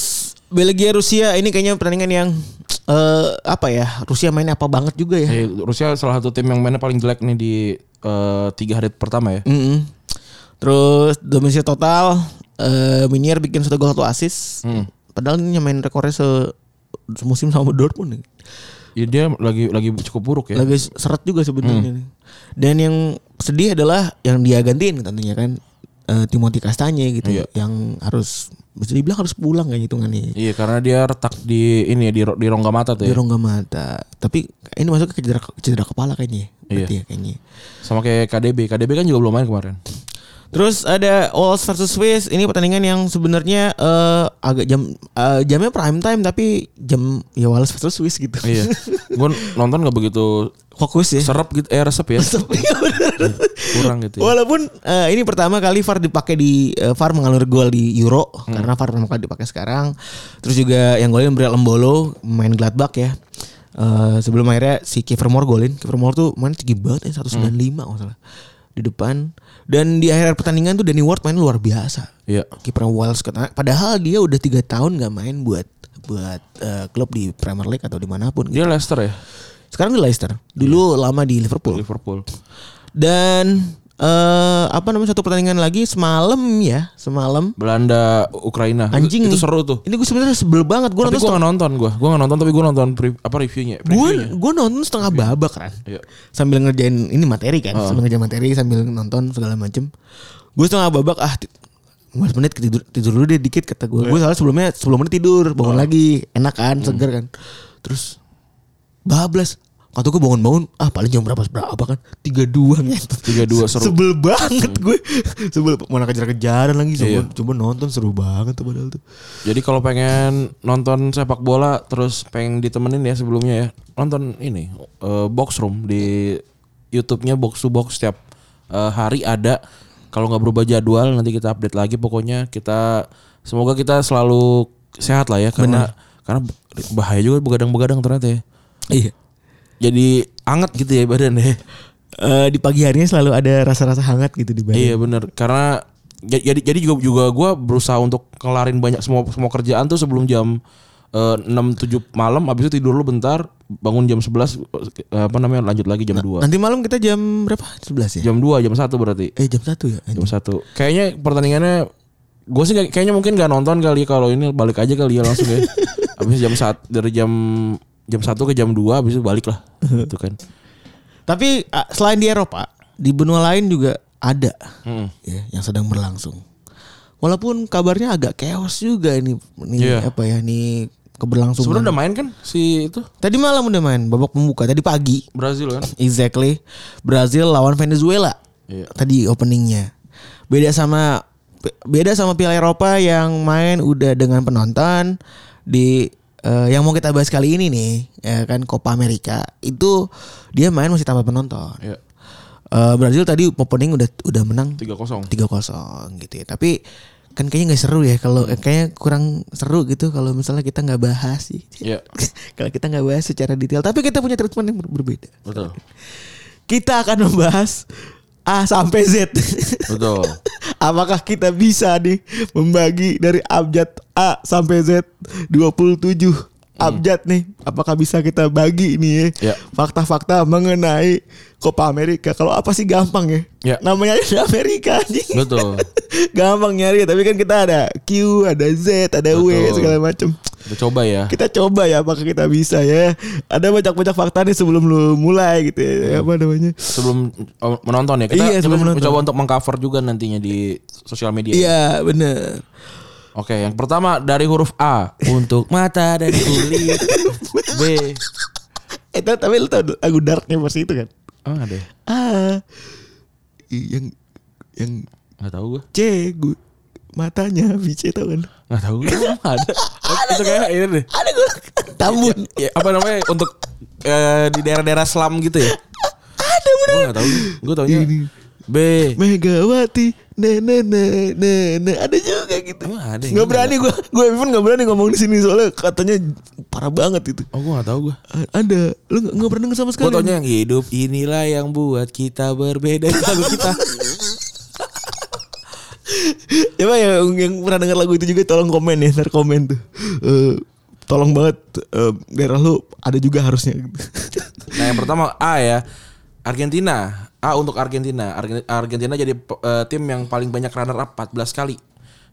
Belgia Rusia ini kayaknya pertandingan yang eh, apa ya? Rusia mainnya apa banget juga ya. Eh, Rusia salah satu tim yang mainnya paling jelek nih di eh, tiga hari pertama ya. Mm-mm. Terus dominasi total eh Minier bikin satu gol satu asis. Hmm. Padahal ini nyamain rekornya se musim sama Dortmund. ya. Ya, dia lagi lagi cukup buruk ya. Lagi seret juga sebenarnya. Hmm. nih. Dan yang sedih adalah yang dia gantiin tentunya kan eh, Timothy Kastanye gitu Iya. yang harus bisa dibilang harus pulang kayak hitungannya. Iya karena dia retak di ini ya di, ro- di rongga mata tuh Di ya. rongga mata. Tapi ini masuk ke cedera, cedera kepala kayaknya. Iya. ya. Berarti ya kayaknya. Sama kayak KDB. KDB kan juga belum main kemarin. Terus ada Wolves versus Swiss. Ini pertandingan yang sebenarnya eh, agak jam eh, jamnya prime time tapi jam ya Wolves versus Swiss gitu. iya. Gue nonton nggak begitu Fokus ya. serap gitu eh resep ya. Iya, bener. Kurang gitu. Ya. Walaupun eh, ini pertama kali VAR dipakai di eh, VAR mengalur gol di Euro Hmm. karena VAR pertama kali dipakai sekarang. Terus juga yang golin Brial Embolo main Gladbach ya. Eh, sebelum akhirnya si Kiefer Moore golin. Kiefer Moore tuh main tinggi Hmm. banget ya 195 kalau nggak salah di depan. Dan di akhir pertandingan tuh Danny Ward main luar biasa. Iya. kiper Wales kena padahal dia udah tiga tahun nggak main buat buat eh, klub di Premier League atau dimanapun Dia gitu. Leicester ya. sekarang di Leicester dulu lama di Liverpool Liverpool. dan eh apa namanya satu pertandingan lagi semalam ya semalam Belanda Ukraina. Itu- anjing Itu, nih. seru tuh. ini gue sebenarnya sebel banget gue Tapi nonton gue nggak nonton gue. Gue nggak nonton tapi gue nonton pre- apa reviewnya. gue Previewnya. gue nonton setengah babak kan Iya. sambil ngerjain ini materi kan sambil ngerjain materi sambil nonton segala macem gue setengah babak ah ti- 15 menit tidur tidur dulu deh dikit kata gue gue soalnya sebelumnya sebelum menit tidur bangun lagi enak kan seger kan terus bablas kata gue bangun-bangun ah paling jam berapa berapa kan tiga dua ngentot 3-2 seru. sebel banget gue sebel mana kejar-kejaran lagi coba, coba nonton seru banget tuh padahal tuh Jadi kalau pengen nonton sepak bola terus pengen ditemenin ya sebelumnya ya nonton ini eh, box room di YouTube-nya box to box setiap eh, hari ada. Kalau nggak berubah jadwal nanti kita update lagi. Pokoknya kita semoga kita selalu sehat lah ya karena karena bahaya juga begadang-begadang ternyata ya. iya Jadi anget gitu ya badan ya. Eh, di pagi harinya selalu ada rasa-rasa hangat gitu di badan Iya bener karena ja- jadi jadi juga juga gue berusaha untuk kelarin banyak semua semua kerjaan tuh sebelum jam eh, enam tujuh malam habis itu tidur lu bentar bangun jam 11 eh, apa namanya lanjut lagi jam 2 Nanti malam kita jam berapa? 11 ya? jam 2 jam 1 berarti Eh jam 1 ya? jam satu kayaknya pertandingannya gue sih kayak- kayaknya mungkin nggak nonton kali ya. kalau ini balik aja kali ya langsung ya habis jam saat dari jam jam satu ke jam 2 habis itu balik lah itu kan Tapi ah, selain di Eropa, di benua lain juga ada ya, yang sedang berlangsung. Walaupun kabarnya agak chaos juga ini, ini Iya. apa ya, ini keberlangsungan. sebenarnya udah main kan si itu Tadi malam udah main babak pembuka, tadi pagi. Brazil kan Exactly. Brazil lawan Venezuela. Iya. Tadi openingnya. Beda sama beda sama Piala Eropa yang main udah dengan penonton di eh, yang mau kita bahas kali ini nih, ya kan Copa America itu dia main masih tanpa penonton. Iya. Eh, Brazil tadi opening udah udah menang 3-0. 3-0 gitu ya. Tapi kan kayaknya nggak seru ya kalau eh, kayaknya kurang seru gitu kalau misalnya kita nggak bahas sih. Iya. kalau kita nggak bahas secara detail, tapi kita punya treatment yang ber- berbeda. Betul. Kita akan membahas A sampai Z. Betul. Apakah kita bisa nih membagi dari abjad A sampai Z 27 abjad nih? Apakah bisa kita bagi nih ya Hmm. Ya. fakta-fakta mengenai Copa America? Kalau apa sih gampang ya? Ya. Namanya aja Amerika anjing. Betul. gampang nyari tapi kan kita ada Q, ada Z, ada W Betul. segala macam. Kita coba ya. Kita coba ya apakah kita bisa ya. Ada banyak-banyak fakta nih sebelum lu mulai gitu ya. Apa namanya? Sebelum oh, menonton ya. Kita, Iya, sebelum kita menonton. mencoba untuk mengcover juga nantinya di sosial media. Iya, bener Oke, yang pertama dari huruf A untuk mata dan kulit. B. Eh tapi- tapi lu tau lagu Darknya versi itu kan? Oh, ada. ya? Ah, yang yang Nggak tahu gue. C gue matanya bice tau kan? Nggak tahu gue. ada. Itu kayak ini deh. Ada Iya. gue Tambun. Ya, apa namanya untuk eh, di daerah-daerah slam gitu ya? Ada Gue bener. nggak tahu. Gue taunya Ini. B. Megawati, ne ne ne ne ne ada juga gitu. Emang ada yang Nggak berani gue, gue even nggak berani ngomong di sini soalnya katanya parah banget itu. Oh, gue nggak tahu gue. A- Ada, lu nggak- nggak pernah denger sama Gue sekali. taunya yang hidup inilah yang buat kita berbeda dari lagu kita. Coba ya yang, yang pernah denger lagu itu juga tolong komen ya, ntar komen tuh. Eh, tolong banget eh, daerah lu ada juga harusnya. Nah yang pertama A ya Argentina A untuk Argentina Argen- Argentina jadi eh, tim yang paling banyak runner up 14 kali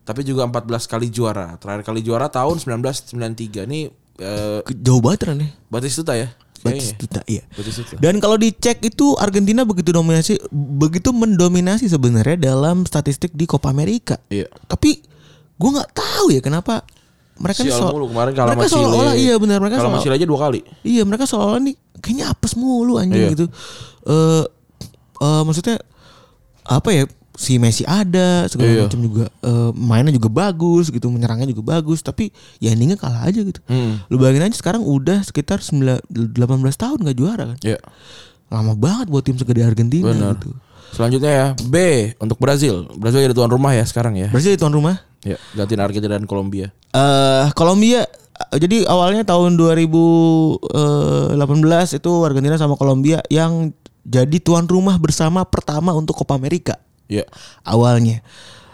Tapi juga 14 kali juara Terakhir kali juara tahun 1993 Ini eh, Jauh banget Ran, ya. Batistuta ya Kayaknya Batistuta, iya. Batistuta Dan kalau dicek itu Argentina begitu dominasi, begitu mendominasi sebenarnya dalam statistik di Copa America. Iya Tapi gue nggak tahu ya kenapa mereka nih Sial soal- mulu kemarin kalah sama mereka Chile seolah-olah iya benar mereka Kalah sama seolah Chile aja dua kali iya mereka seolah-olah nih kayaknya apes mulu anjing Iya. gitu. Eh eh, maksudnya apa ya si Messi ada segala Iya. macam juga eh, mainnya juga bagus gitu menyerangnya juga bagus tapi ya endingnya kalah aja gitu. Hmm. Lu bayangin aja sekarang udah sekitar 9 18 tahun nggak juara kan. Iya Lama banget buat tim segede Argentina benar gitu. Iya. Selanjutnya ya B untuk Brazil Brazil jadi tuan rumah ya sekarang ya Berarti jadi tuan rumah. Ya gantiin Argentina dan Kolombia Eh Kolombia eh, jadi awalnya tahun 2018 itu Argentina sama Kolombia yang jadi tuan rumah bersama pertama untuk Copa America Ya awalnya.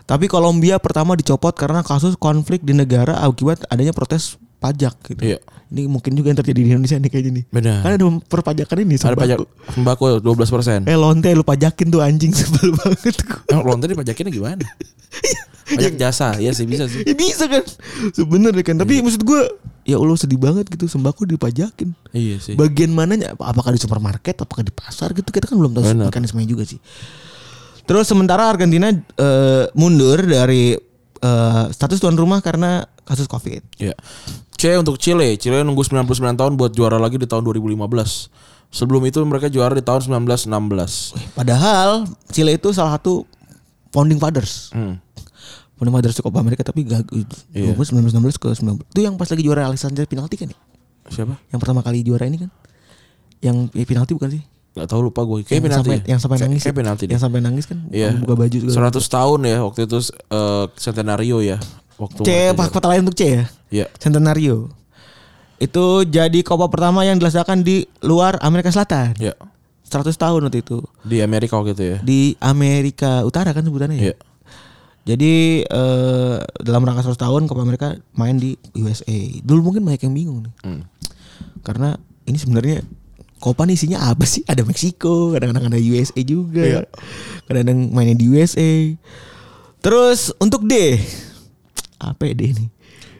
Tapi Kolombia pertama dicopot karena kasus konflik di negara akibat adanya protes pajak gitu. Iya. Ini mungkin juga yang terjadi di Indonesia nih kayaknya nih. Benar. Kan ada perpajakan ini Ada sembako. pajak sembako 12 persen Eh lonte lu pajakin tuh anjing sebel banget gua. Emang lonte Eh, dipajakinnya gimana? Pajak jasa, ya sih bisa sih. Ya bisa kan sebenarnya kan tapi maksud gue ya Allah sedih banget gitu sembako dipajakin Iya sih. bagian mananya Ap- apakah di supermarket apakah di pasar gitu kita kan belum tahu Benar. mekanismenya juga sih terus sementara Argentina eh, mundur dari eh, status tuan rumah karena kasus covid Ya. C untuk Chile. Chile nunggu 99 tahun buat juara lagi di tahun 2015. Sebelum itu mereka juara di tahun 1916. padahal Chile itu salah satu founding fathers Hmm. founding fathers Copa America tapi gitu. gak Iya. 1916 ke 19 itu yang pas lagi juara Alexander penalti kan ya Siapa? yang pertama kali juara ini kan yang eh, penalti bukan sih Gak tahu lupa gue. yang Kayak penalti. sampai ya? yang sampai Kayak- nangis Kayak penalti deh. yang sampai nangis kan Iya. buka baju segala 100 tahun ya waktu itu eh, centenario ya waktu. C mereka pak juara. kota lain untuk C ya Iya. Centenario itu jadi Copa pertama yang dilaksanakan di luar Amerika Selatan Iya. 100 tahun waktu itu Di Amerika waktu itu ya. di Amerika Utara kan sebutannya Iya. ya jadi eh, dalam rangka 100 tahun Copa Amerika main di USA dulu mungkin banyak yang bingung nih Hmm. karena ini sebenarnya Copa nih isinya apa sih? Ada Meksiko, kadang-kadang ada USA juga, kadang-kadang mainnya di USA. Terus untuk D, apa ya D ini?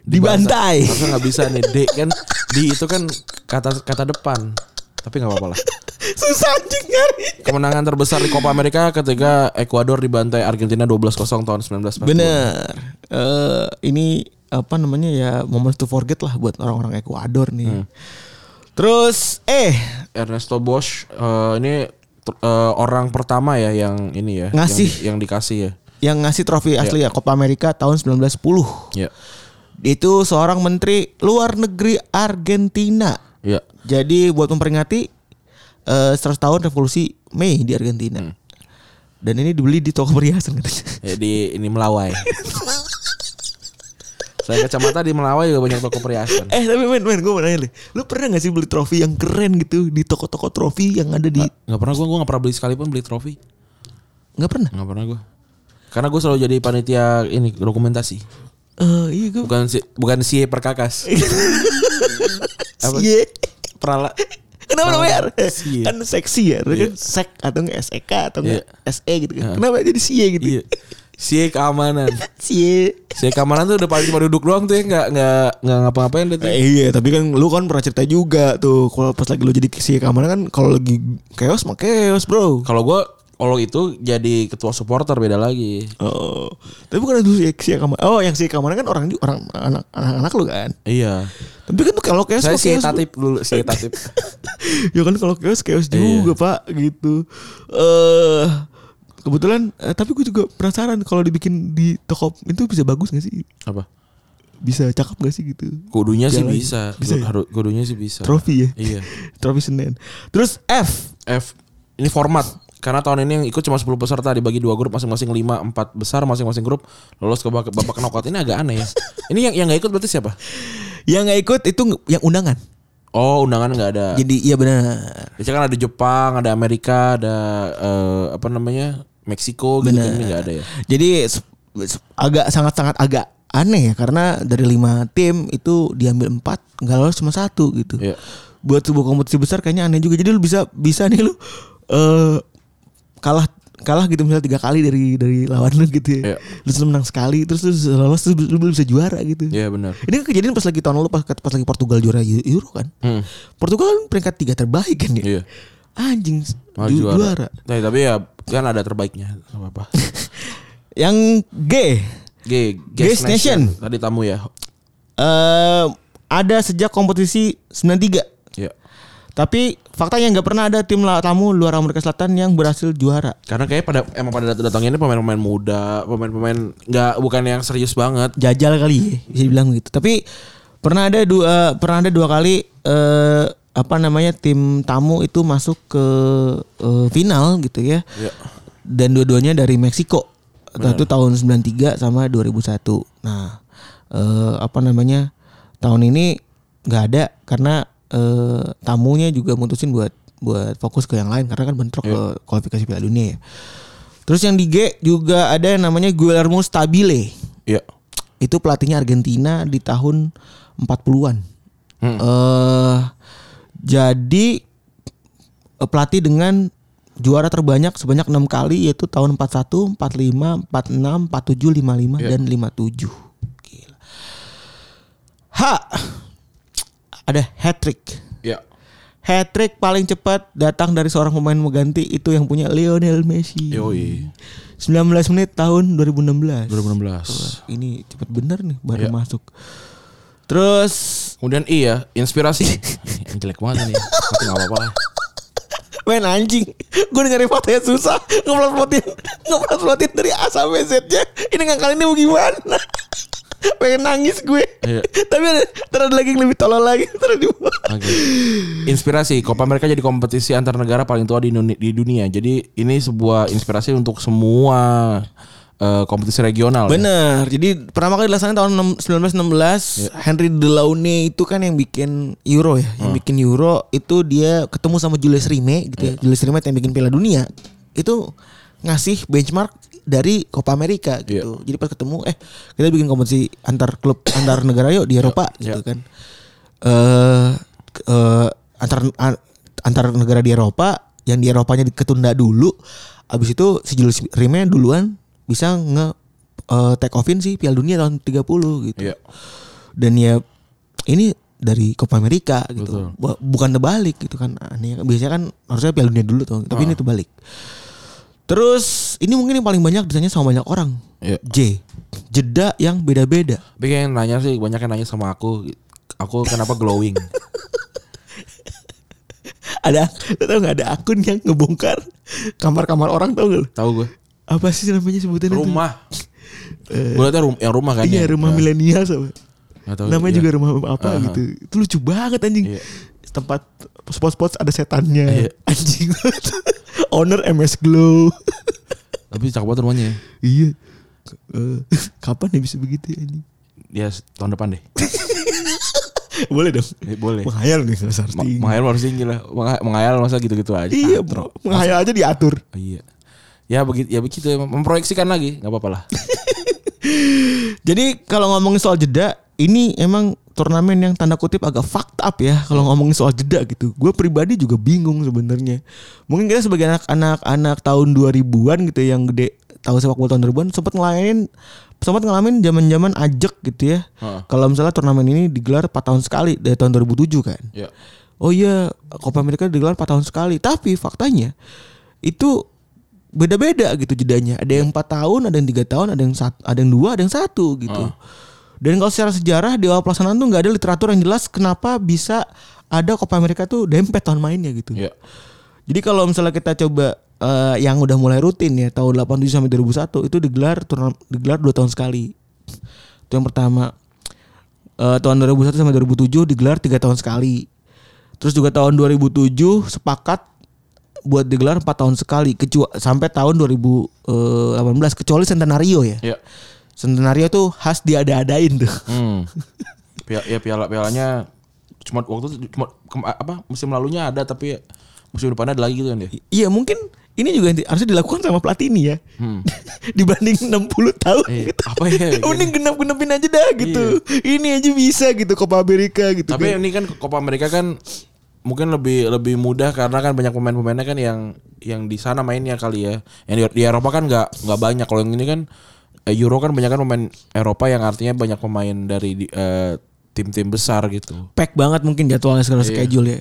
Dibantai. Masa nggak bisa nih D kan di itu kan kata kata depan. Tapi nggak apa-apa lah. Susah anjing nyari. Kemenangan terbesar di Copa America ketika Ekuador dibantai Argentina 12-0 tahun 1940. Bener. Eh, ini apa namanya ya moments to forget lah buat orang-orang Ekuador nih. Terus eh Ernesto Bosch eh, ini ter- eh, orang pertama ya yang ini ya Ngasih. yang, di- yang dikasih ya. yang ngasih trofi asli ya Copa America tahun 1910. Ya. Itu seorang menteri luar negeri Argentina. Iya. Jadi buat memperingati eh, 100 tahun revolusi Mei di Argentina. Dan ini dibeli di toko perhiasan katanya. Ya, di ini Melawai. Saya kacamata di Melawai juga banyak toko perhiasan. Eh tapi men, men gue mau nanya nih Lu pernah gak sih beli trofi yang keren gitu Di toko-toko trofi yang ada di Gak pernah gue, gue gak pernah beli sekalipun beli trofi. Gak pernah Gak pernah gue. Karena gue selalu jadi panitia ini dokumentasi. Eh iya gue Bukan si, bukan si perkakas. Apa? Iya Perala. Kenapa namanya R? Sie. Kan seksi ya Kan sek atau nggak SEK atau nggak SE gitu kan Heeh. Kenapa jadi sie gitu E. Iya. Si keamanan. Sie Si keamanan tuh udah paling cuma duduk doang tuh ya nggak nggak nggak ngapa-ngapain dia tuh. Eh, iya, tapi kan lu kan pernah cerita juga tuh kalau pas lagi lu jadi si keamanan kan kalau lagi chaos mah chaos, Bro. Kalau gue kalau itu jadi ketua supporter beda lagi. Oh, tapi bukan itu si, si keamanan. Oh, yang si keamanan kan orang orang anak anak lu kan. Iya. Tapi kan tuh kalau chaos Saya kok si chaos, tatip dulu si tatip. ya kan kalau chaos chaos juga pak gitu eh kebetulan eh, tapi gue juga penasaran kalau dibikin di toko itu bisa bagus gak sih Apa? bisa cakep gak sih gitu Kudunya sih Jalan. bisa. Bisa ya? Harus kudunya sih bisa. trofi ya Iya. trofi senen terus F F ini format karena tahun ini yang ikut cuma 10 peserta dibagi dua grup masing-masing 5 4 besar masing-masing grup lolos ke babak, babak knockout ini agak aneh ya. Ini yang yang nggak ikut berarti siapa? yang gak ikut itu nge- yang undangan Oh, undangan nggak ada. jadi iya benar Biasanya kan ada Jepang, ada Amerika, ada eh, apa namanya? Meksiko gitu Bener. ini nggak ada ya. jadi se- se- agak sangat sangat agak aneh ya karena dari lima tim itu diambil empat nggak lolos cuma satu gitu Iya. buat sebuah kompetisi besar kayaknya aneh juga jadi lu bisa bisa nih lu eh kalah kalah gitu misalnya tiga kali dari dari lawan lu gitu ya. Iya. Terus lu menang sekali terus lu lolos terus lu belum bisa juara gitu. Iya benar. Ini kan kejadian pas lagi tahun lalu pas, pas lagi Portugal juara Eu- Euro kan. Hmm. Portugal kan peringkat tiga terbaik kan ya. Iya. Anjing Malah ju- juara. juara. Tapi, tapi ya kan ada terbaiknya. Gak apa-apa. Yang G G, Guest Nation. Tadi tamu ya. eh ada sejak kompetisi 93. Iya. Tapi faktanya nggak pernah ada tim la- tamu luar Amerika Selatan yang berhasil juara. Karena kayaknya pada emang pada dat- datangnya ini pemain-pemain muda, pemain-pemain nggak bukan yang serius banget. jajal kali ya, bisa dibilang gitu. Tapi pernah ada dua pernah ada dua kali eh apa namanya tim tamu itu masuk ke eh, final gitu ya. Iya. Dan dua-duanya dari Meksiko. Satu tahun 93 sama 2001. Nah, eh apa namanya? Tahun ini nggak ada karena eh tamunya juga mutusin buat buat fokus ke yang lain karena kan bentrok ke kualifikasi Piala Dunia ya. Terus yang di G juga ada yang namanya Guillermo Stabile Iya. itu pelatihnya Argentina di tahun 40-an. Hmm. Eh, jadi eh, pelatih dengan juara terbanyak sebanyak enam kali yaitu tahun 41, 45, 46, 47, 55 Iya. dan 57. Gila. H ada hat trick. Iya. Hat trick paling cepat datang dari seorang pemain mengganti itu yang punya Lionel Messi. Yoi. 19 menit tahun 2016. 2016. Ini cepet bener nih baru Ya. masuk. Terus Kemudian I ya, inspirasi. Ini jelek banget ini. Tapi nggak apa-apa lah. main anjing. Gue nyari fotonya susah. Ngeplot-plotin. Ngeplot-plotin dari A sampai Z-nya. Ini ngakal ini mau gimana? Pengen nangis gue. Iya. Tapi ada, ntar ada lagi yang lebih tolol lagi. Ntar dibuat. Oke. Inspirasi, Copa America jadi kompetisi antar negara paling tua di, Indone- di dunia. Jadi ini sebuah inspirasi untuk semua eh, kompetisi regional. ya. Bener. Jadi pertama kali dilaksanakan tahun 6- 1916 Henry Delaunay itu kan yang bikin Euro ya, yang bikin Euro itu dia ketemu sama Julius Rimet gitu ya. Julius Rimet yang bikin Piala Dunia itu ngasih benchmark dari Copa America gitu. Jadi pas ketemu eh kita bikin kompetisi antar klub antar negara yuk di Eropa gitu kan. Eh eh, antar an- antar negara di Eropa yang di Eropanya ketunda dulu abis itu si Julius Rimet duluan bisa nge eh, take offin sih Piala Dunia tahun 30 gitu. Iya. Dan ya ini dari Copa America gitu. Bu- Bukan terbalik gitu kan. Aneh kan. biasanya kan harusnya Piala Dunia dulu Ah. tuh, tapi ini terbalik. Terus ini mungkin yang paling banyak ditanya sama banyak orang. Iya. J. Jeda yang beda-beda. Tapi kayak yang nanya sih banyak yang nanya sama aku. Aku kenapa glowing? Ada lo tau gak ada akun yang ngebongkar kamar-kamar orang tau gak lo? Tahu gue. Apa sih namanya sebutannya tuh? Eh, Rumah. Gue liatnya rum- yang rumah kan. Iya ya. rumah milenial sama. Nggak tahu, namanya iya. juga rumah apa Aha. gitu itu lucu banget anjing Iya. tempat spot-spot ada setannya Iya. anjing banget. owner MS Glow Tapi cakep banget rumahnya. ya. iya Eh, kapan ya bisa begitu ya anjing Dia s- tahun depan deh. Iya, boleh dong Eh, boleh. menghayal nih Mas Ma- Arti Menghayal harus tinggi lah. Mengha- Menghayal masa gitu-gitu aja. Ah, iya tro. bro menghayal aja diatur Iya. Ya begitu ya begitu emang. memproyeksikan lagi nggak apa-apa lah. Jadi kalau ngomongin soal jeda, ini emang turnamen yang tanda kutip agak fucked up ya kalau ngomongin soal jeda gitu. Gue pribadi juga bingung sebenarnya. Mungkin kita sebagai anak-anak anak tahun 2000-an gitu yang gede tahu sepak bola tahun 2000-an sempat ngelainin sempat ngalamin zaman-zaman ajak gitu ya. Heeh. Kalau misalnya turnamen ini digelar 4 tahun sekali dari tahun 2007 kan. Ya. Oh iya, Copa America digelar 4 tahun sekali. Tapi faktanya itu beda-beda gitu jedanya. Ada yang 4 tahun, ada yang 3 tahun, ada yang satu, ada yang 2, ada yang 1 gitu. Dan kalau secara sejarah di awal pelaksanaan tuh nggak ada literatur yang jelas kenapa bisa ada Copa America tuh dempet tahun mainnya gitu. Ya. Jadi kalau misalnya kita coba eh, yang udah mulai rutin ya tahun 87 sampai 2001 itu digelar turna- digelar 2 tahun sekali. Itu yang pertama. Eh, tahun 2001 sampai 2007 digelar 3 tahun sekali. Terus juga tahun 2007 sepakat buat digelar 4 tahun sekali kecuali sampai tahun 2018 kecuali Centenario ya. Ya. Centenario tuh khas diada-adain tuh. Hmm. Pia- ya piala pialanya cuma waktu itu cuma kem- apa musim lalunya ada tapi musim depannya ada lagi gitu kan ya. Iya mungkin ini juga yang di- harusnya dilakukan sama Platini ya. Dibanding 60 tahun Iya, gitu. Hmm. apa ya, gitu. Iya. Mending genep-genepin aja dah gitu. Ini aja bisa gitu Copa America gitu. Tapi kan. ini kan Copa America kan mungkin lebih lebih mudah karena kan banyak pemain-pemainnya kan yang yang di sana mainnya kali ya. Yang di, di Eropa kan nggak nggak banyak. Kalau yang ini kan eh, Euro kan banyak kan pemain Eropa yang artinya banyak pemain dari di- eh, tim-tim besar gitu. pack banget mungkin jadwalnya segala Iya. schedule ya.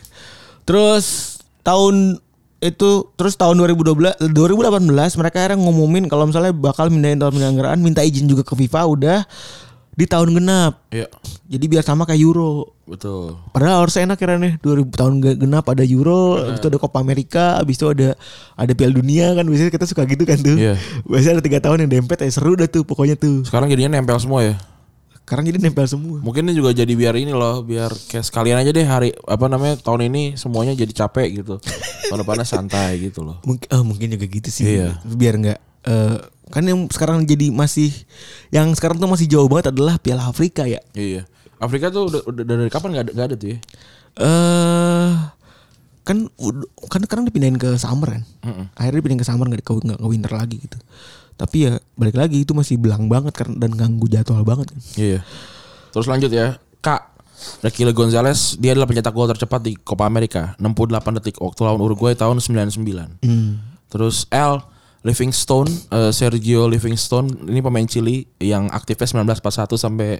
Terus tahun itu terus tahun 2012 2018 mereka akhirnya ngumumin kalau misalnya bakal mindahin tahun penyelenggaraan minta izin juga ke FIFA udah di tahun genap. Iya, Jadi biar sama kayak Euro. betul. Padahal harusnya enak ya, kira nih 2000 tahun ge- genap ada Euro, habis itu ada Copa America, habis itu ada ada Piala Dunia kan biasanya kita suka gitu kan tuh. Iya. Biasanya ada tiga tahun yang dempet eh, seru dah tuh pokoknya tuh. Sekarang jadinya nempel semua ya. Sekarang jadi nempel semua. Mungkin ini juga jadi biar ini loh, biar kayak sekalian aja deh hari apa namanya tahun ini semuanya jadi capek gitu. Tahun depannya santai gitu loh. Mungkin oh, mungkin juga gitu sih. Iya. Biar nggak eh, kan yang sekarang jadi masih yang sekarang tuh masih jauh banget adalah Piala Afrika ya. Iya. Afrika tuh udah, udah dari kapan nggak ada, nggak ada tuh ya? Eh kan ud- kan sekarang dipindahin ke summer kan. Akhirnya dipindahin ke summer nggak ke, nggak ke winter lagi gitu. Tapi ya balik lagi itu masih belang banget karena dan ganggu jadwal banget kan. Iya. Terus lanjut ya. Kak Rekile Gonzalez dia adalah pencetak gol tercepat di Copa America 68 detik waktu lawan Uruguay tahun 99. Terus L Livingstone eh, Sergio Livingstone ini pemain Chili yang aktifnya 1941 sampai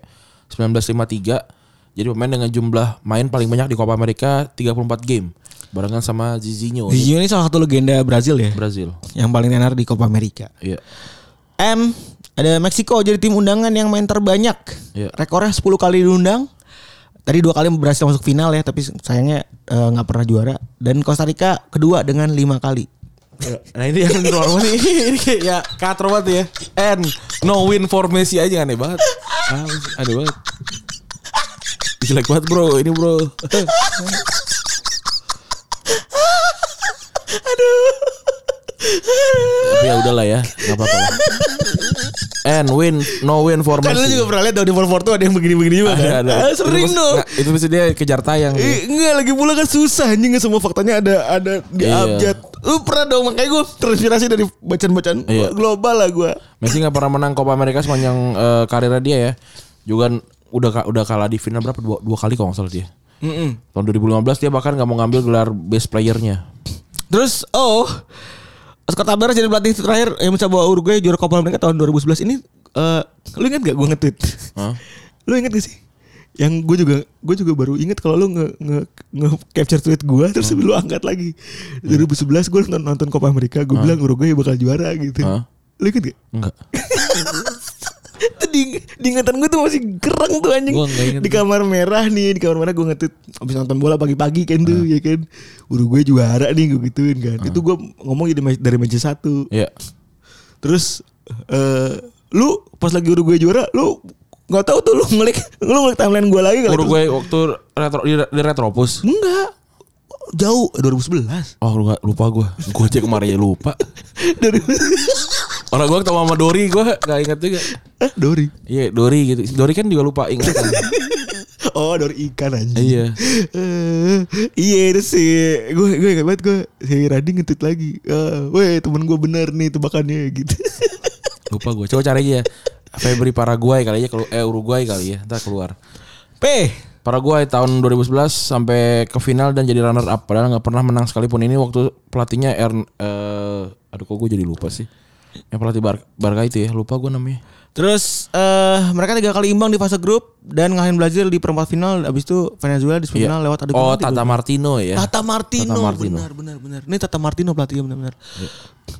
1953. Jadi pemain dengan jumlah main paling banyak di Copa America 34 game barengan sama Zizinho di Zizinho ini salah satu legenda Brazil ya. Brazil. Yang paling tenar di Copa America. Iya. M ada Meksiko jadi tim undangan yang main terbanyak. Iya. Rekornya 10 kali diundang. Tadi dua kali berhasil masuk final ya, tapi sayangnya eh, nggak pernah juara. Dan Costa Rica kedua dengan lima kali. Nah ini yang normal nih Ini kayak ya katro banget ya And no win for Messi aja aneh banget Ah, Aneh banget Jelek banget bro ini bro Tapi ya udahlah ya Gak apa-apa lah. And win no win for Kan lu Messi juga pernah lihat tahun Forward tuh ada yang begini-begini juga kan? Ada, ada. Ah, Sering Itu- dong. nah, Itu mesti dia kejar tayang Eh, enggak lagi pula kan susah anjing nggak semua faktanya ada ada di Iya. abjad. Lu pernah dong makanya gue terinspirasi dari bacaan-bacaan Iya. global lah gue. Messi nggak pernah menang Copa America sepanjang eh, karirnya dia ya. Juga n- udah ka- udah kalah di final berapa dua, dua kali kalau nggak salah dia. Tahun 2015 dia bahkan nggak mau ngambil gelar best playernya. Terus oh Scott Tabares jadi pelatih terakhir yang mencoba Uruguay juara Copa America tahun 2011 ini eh lu inget gak gue nge-tweet? Hah? lu inget gak sih? Yang gue juga gue juga baru inget kalau lu nge, nge, nge capture tweet gue terus lu angkat lagi. Iya. 2011 gue nonton, nonton Copa America gue bilang Uruguay bakal juara gitu. Hah? Lu inget gak? Enggak. itu di, di ingatan gue tuh masih gerang tuh anjing Gua nggak inget. di kamar merah nih di kamar merah gue ngetit abis nonton bola pagi-pagi kan Nah. tuh ya kan Uruguay gue juara nih gue gituin kan itu gue ngomong jadi ma- dari meja satu Iya. terus eh lu pas lagi Uruguay gue juara lu Gak tau tuh lu ngelik lu ngelik timeline gue lagi kali. Uruguay waktu retro di, di Retropus. Enggak. Jauh 2011. Oh lu nggak- lupa gue. Gue aja kemarin aja lupa. 2011. Orang gue ketemu sama Dori gue nggak ingat juga. Eh, Dori. Iya Dori gitu. Dori kan juga lupa ingat. Oh, Dori ikan anjing. iya. Eh, iya itu sih gue gue ingat banget gue si Radi ngetweet lagi Eh, weh temen gue bener nih tebakannya gitu Lupa gue. Coba cari aja. ya. Febri Paraguay kali ya. kelu- Eh Uruguay kali ya. Ntar keluar. P Paraguay tahun 2011 sampai ke final dan jadi runner up padahal nggak pernah menang sekalipun ini waktu pelatihnya Ern eh, aduh kok gue jadi lupa sih yang pelatih Bar Barca itu ya lupa gue namanya terus eh mereka tiga kali imbang di fase grup dan ngalahin Brazil di perempat final abis itu Venezuela di Iya. semifinal lewat adu oh penalti. Tata Martino ya Tata Martino, Tata Martino. Iya. benar benar benar ini Tata Martino pelatihnya benar benar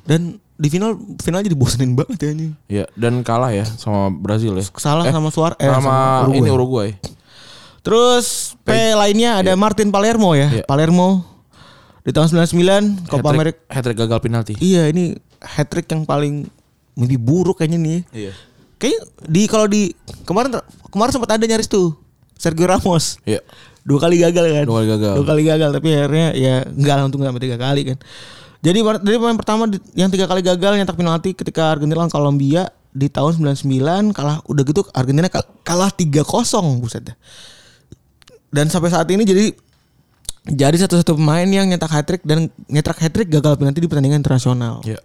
dan di final final jadi bosenin banget ya anjing ya dan kalah ya sama Brazil ya salah sama Suarez eh, sama Uruguay. ini Uruguay Terus P lainnya ada Martin Palermo ya. Iya. Palermo di tahun 99 Copa America. hat-trick gagal penalti Iya, ini hat trick yang paling mimpi buruk kayaknya nih. iya Kayaknya di kalau di kemarin kemarin sempat ada nyaris tuh Sergio Ramos. iya Dua kali gagal kan? Dua kali gagal. Dua kali gagal tapi akhirnya ya enggak lah untung enggak sampai tiga kali kan. Jadi mar- dari pemain pertama di- yang tiga kali gagal nyetak penalti ketika Argentina lawan Kolombia di tahun 99 kalah udah gitu Argentina kal- kalah 3-0 buset dah. Dan sampai saat ini jadi jadi satu-satu pemain yang nyetak hat trick dan nyetak hat trick gagal penalti di pertandingan internasional. iya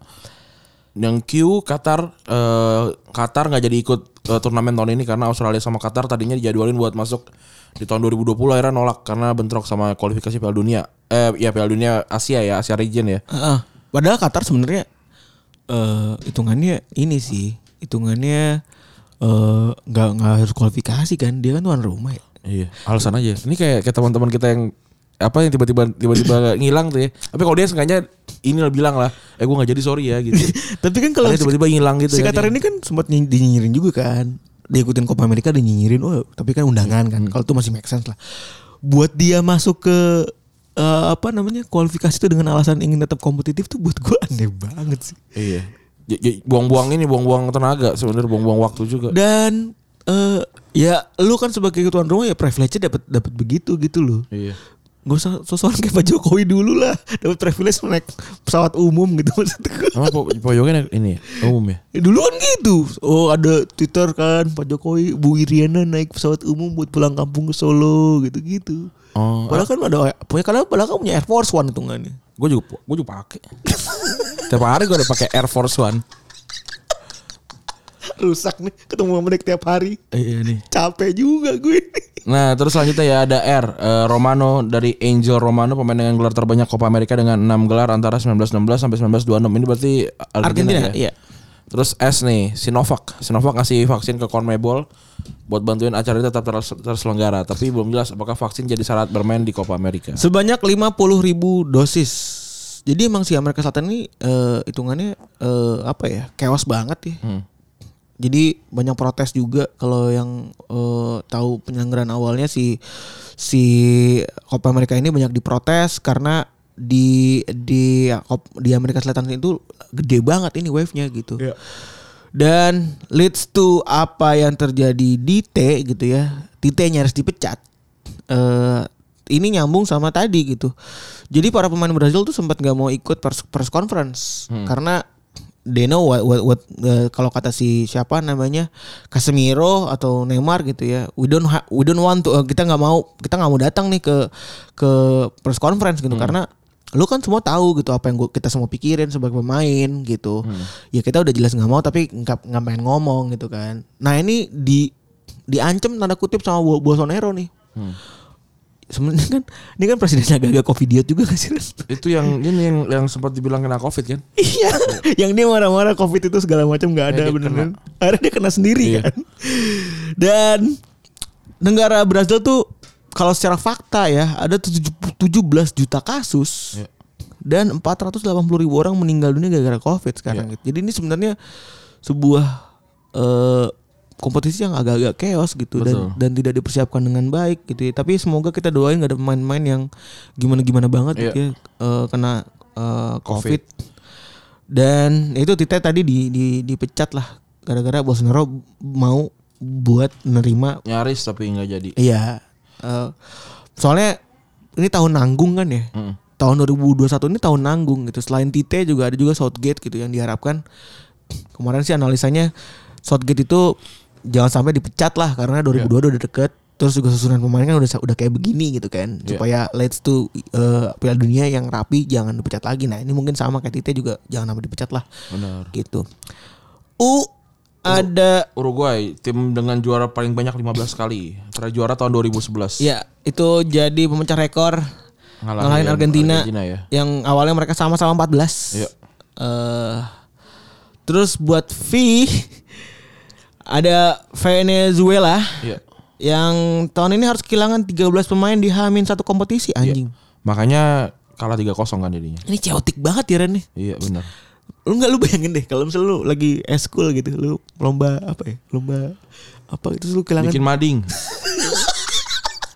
yang Q Qatar eh, Qatar nggak jadi ikut eh, turnamen tahun ini karena Australia sama Qatar tadinya dijadwalin buat masuk di tahun 2020 akhirnya nolak karena bentrok sama kualifikasi Piala Dunia eh ya Piala Dunia Asia ya Asia Region ya Heeh. Padahal Qatar sebenarnya eh hitungannya ini sih, hitungannya eh, nggak nggak harus kualifikasi kan, dia kan tuan rumah ya. Iya, alasan aja. Ini kayak kayak teman-teman kita yang apa yang tiba-tiba tiba-tiba ngilang tuh ya. Tapi kalau dia sengaja ini lah bilang lah, eh gue nggak jadi sorry ya gitu. Tapi kan kalau Karena si, tiba-tiba ngilang gitu. si ya. Qatar ini kan sempat nyi- dinyinyirin juga kan, diikutin Copa America dinyinyirin, oh tapi kan undangan kan, kalau itu masih make sense lah. Buat dia masuk ke eh, apa namanya kualifikasi itu dengan alasan ingin tetap kompetitif tuh buat gue aneh banget sih. Iya. Ya- ya, Buang-buang ini, buang-buang tenaga sebenarnya, buang-buang waktu juga. Dan eh ya lu kan sebagai tuan rumah ya privilege-nya dapat dapat begitu gitu loh. Iya. Gak usah sosokan kayak Pak Jokowi dulu lah Dapat privilege naik pesawat umum gitu maksud gue. Emang po pojokan ini ya, umum ya. Ya, Dulu kan gitu Oh ada Twitter kan Pak Jokowi Bu Iriana naik pesawat umum Buat pulang kampung ke Solo gitu-gitu Oh, Padahal kan ada punya Karena padahal kan punya Air Force One hitungannya gue juga gue juga pakai. Tiap hari gue udah pakai Air Force One. Rusak nih Ketemu sama dia tiap hari Iya nih. Capek juga gue Nah, terus selanjutnya ya ada R eh, Romano dari Angel Romano pemain dengan gelar terbanyak Copa America dengan 6 gelar antara 1916 sampai 1926. Ini berarti Argentina, Argentina ya. iya Terus S nih, Sinovac. Sinovac ngasih vaksin ke Conmebol buat bantuin acara ini tetap terse- terselenggara, tapi belum jelas apakah vaksin jadi syarat bermain di Copa America. Sebanyak 50.000 ribu dosis. Jadi emang si Amerika Selatan ini eh, hitungannya eh, apa ya? Chaos banget ya. Jadi banyak protes juga kalau yang eh, tahu penyelenggaraan awalnya si si Copa America ini banyak diprotes karena di di ya, di Amerika Selatan itu gede banget ini wave-nya gitu. Dan leads to apa yang terjadi di T gitu ya. Tite nyaris dipecat. Eh ini nyambung sama tadi gitu. Jadi para pemain Brazil tuh sempat nggak mau ikut pers- press conference karena they know what, what, what, eh, kalau kata si siapa namanya Casemiro atau Neymar gitu ya. We don't ha- we don't want to eh, kita nggak mau kita nggak mau datang nih ke ke press conference gitu karena lu kan semua tahu gitu apa yang gua, kita semua pikirin sebagai pemain gitu ya kita udah jelas nggak mau tapi nggak nggak pengen ngomong gitu kan nah ini di diancam tanda kutip sama Bo- Bolsonaro nih sebenarnya kan ini kan presidennya agak-agak covidiot juga gak sih Ren? Itu yang ini yang yang sempat dibilang kena Covid kan? iya yang dia marah-marah covid itu segala macam nggak ada dia Iya. bener beneran akhirnya dia kena sendiri kan dan negara Brazil tuh kalau secara fakta ya ada 70 17 juta kasus Iya. dan 480 ribu orang meninggal dunia gara-gara covid sekarang Iya. gitu. jadi ini sebenarnya sebuah eh, kompetisi yang agak-agak chaos gitu Betul. dan dan tidak dipersiapkan dengan baik gitu ya. Tapi semoga kita doain gak ada pemain-pemain yang gimana-gimana banget Iya. gitu ya eh, kena eh, Covid. COVID. Dan itu Tite tadi di, di dipecat lah gara-gara Bolsonaro mau buat nerima Nyaris tapi nggak jadi. Iya. Eh, soalnya ini tahun nanggung kan ya. Tahun 2021 ini tahun nanggung gitu. Selain Tite juga ada juga Southgate gitu yang diharapkan. Kemarin sih analisanya Southgate itu jangan sampai dipecat lah karena 2022 udah deket. Terus juga susunan pemain kan udah udah kayak begini gitu kan. Supaya let's to eh, Piala Dunia yang rapi jangan dipecat lagi. Nah, ini mungkin sama kayak Tite juga jangan sampai dipecat lah. Benar. Gitu. U ada Uruguay tim dengan juara paling banyak 15 kali. Terakhir juara tahun 2011. Ya, itu jadi pemecah rekor Ngalahin ngalahin, Argentina, Argentina ya. yang awalnya mereka sama-sama 14. Iya. Eh, terus buat V ada Venezuela Iya. yang tahun ini harus kehilangan 13 pemain di Hamin satu kompetisi Iya. anjing. Makanya kalah 3-0 kan jadinya. Ini chaotic banget ya Ren nih. Iya benar. Lu nggak lu bayangin deh kalau misalnya lu lagi eskul gitu, lu lomba apa ya? Lomba apa gitu terus lu kehilangan Bikin mading.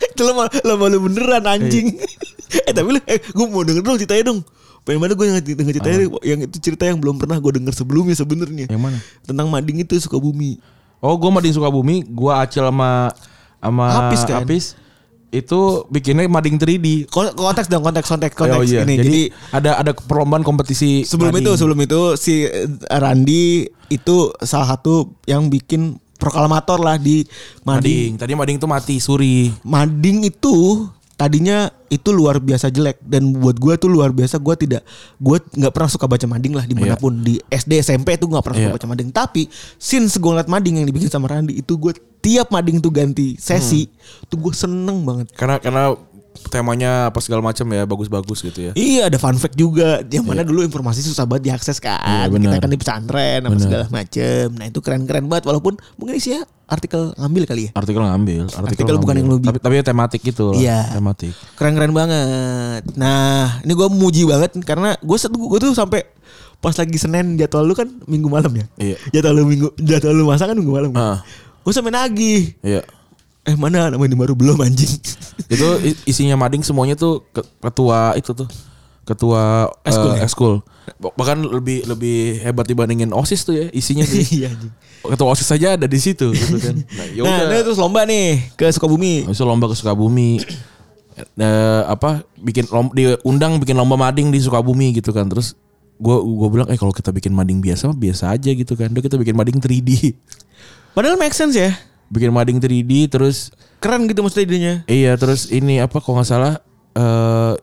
Itu lo malu, lo malu beneran anjing. Iya. eh tapi lo, eh, gue mau denger dong ceritanya dong. Pengen banget gue denger, denger ceritanya yang itu cerita yang belum pernah gue denger sebelumnya sebenarnya. Yang mana? Tentang mading itu Sukabumi. Oh, gua mading Sukabumi, gua acil sama sama Apis kan? Apis. Itu bikinnya mading 3D. Kon- Konteks dong, konteks konteks konteks Oh, iya. ini. Jadi, Jadi, ada ada perlombaan kompetisi sebelum itu sebelum itu si eh, Randi itu salah satu yang bikin proklamator lah di mading. mading. Tadi mading tuh mati suri. Mading itu tadinya itu luar biasa jelek dan buat gue tuh luar biasa gue tidak gue nggak pernah suka baca mading lah dimanapun di SD SMP tuh nggak pernah suka Iya. baca mading tapi since gue ngeliat mading yang dibikin sama Randi itu gue tiap mading tuh ganti sesi Hmm. tuh gue seneng banget Karena karena temanya apa segala macam ya bagus-bagus gitu ya. Iya ada fun fact juga Yang mana dulu informasi susah banget diakses kan Iya, Kita benar. kan di pesantren apa segala macem Nah itu keren-keren banget Walaupun mungkin isinya artikel ngambil kali ya Artikel ngambil, artikel, Artikel bukan ngambil. yang lu bi- Tapi tapi tematik gitu lah, Iya. tematik. keren-keren banget. Nah, ini gue muji banget karena gue gue tuh sampai pas lagi Senin jadwal lu kan minggu malam ya. Iya. Jadwal lu minggu jadwal lu masak kan minggu malam. Ah. Kan? Gue sampai nagih. Iya. Eh mana nama ini baru belum anjing. itu i- isinya mading semuanya tuh ke- ketua itu tuh ketua eh, Eskul eskul ya? Bah- bahkan lebih lebih hebat dibandingin osis tuh ya isinya sih iya anjing. ketua osis saja ada di situ gitu kan nah, nah, yaudah. ini terus lomba nih ke Sukabumi. Habis itu lomba ke Sukabumi. Eh, apa bikin lomba, diundang bikin lomba mading di Sukabumi gitu kan. Terus gua gua bilang eh kalau kita bikin mading biasa mah biasa aja gitu kan. Udah kita bikin mading 3D. Padahal make sense ya. Bikin mading 3D terus Keren gitu maksudnya idenya. iya terus ini apa kalau nggak salah eh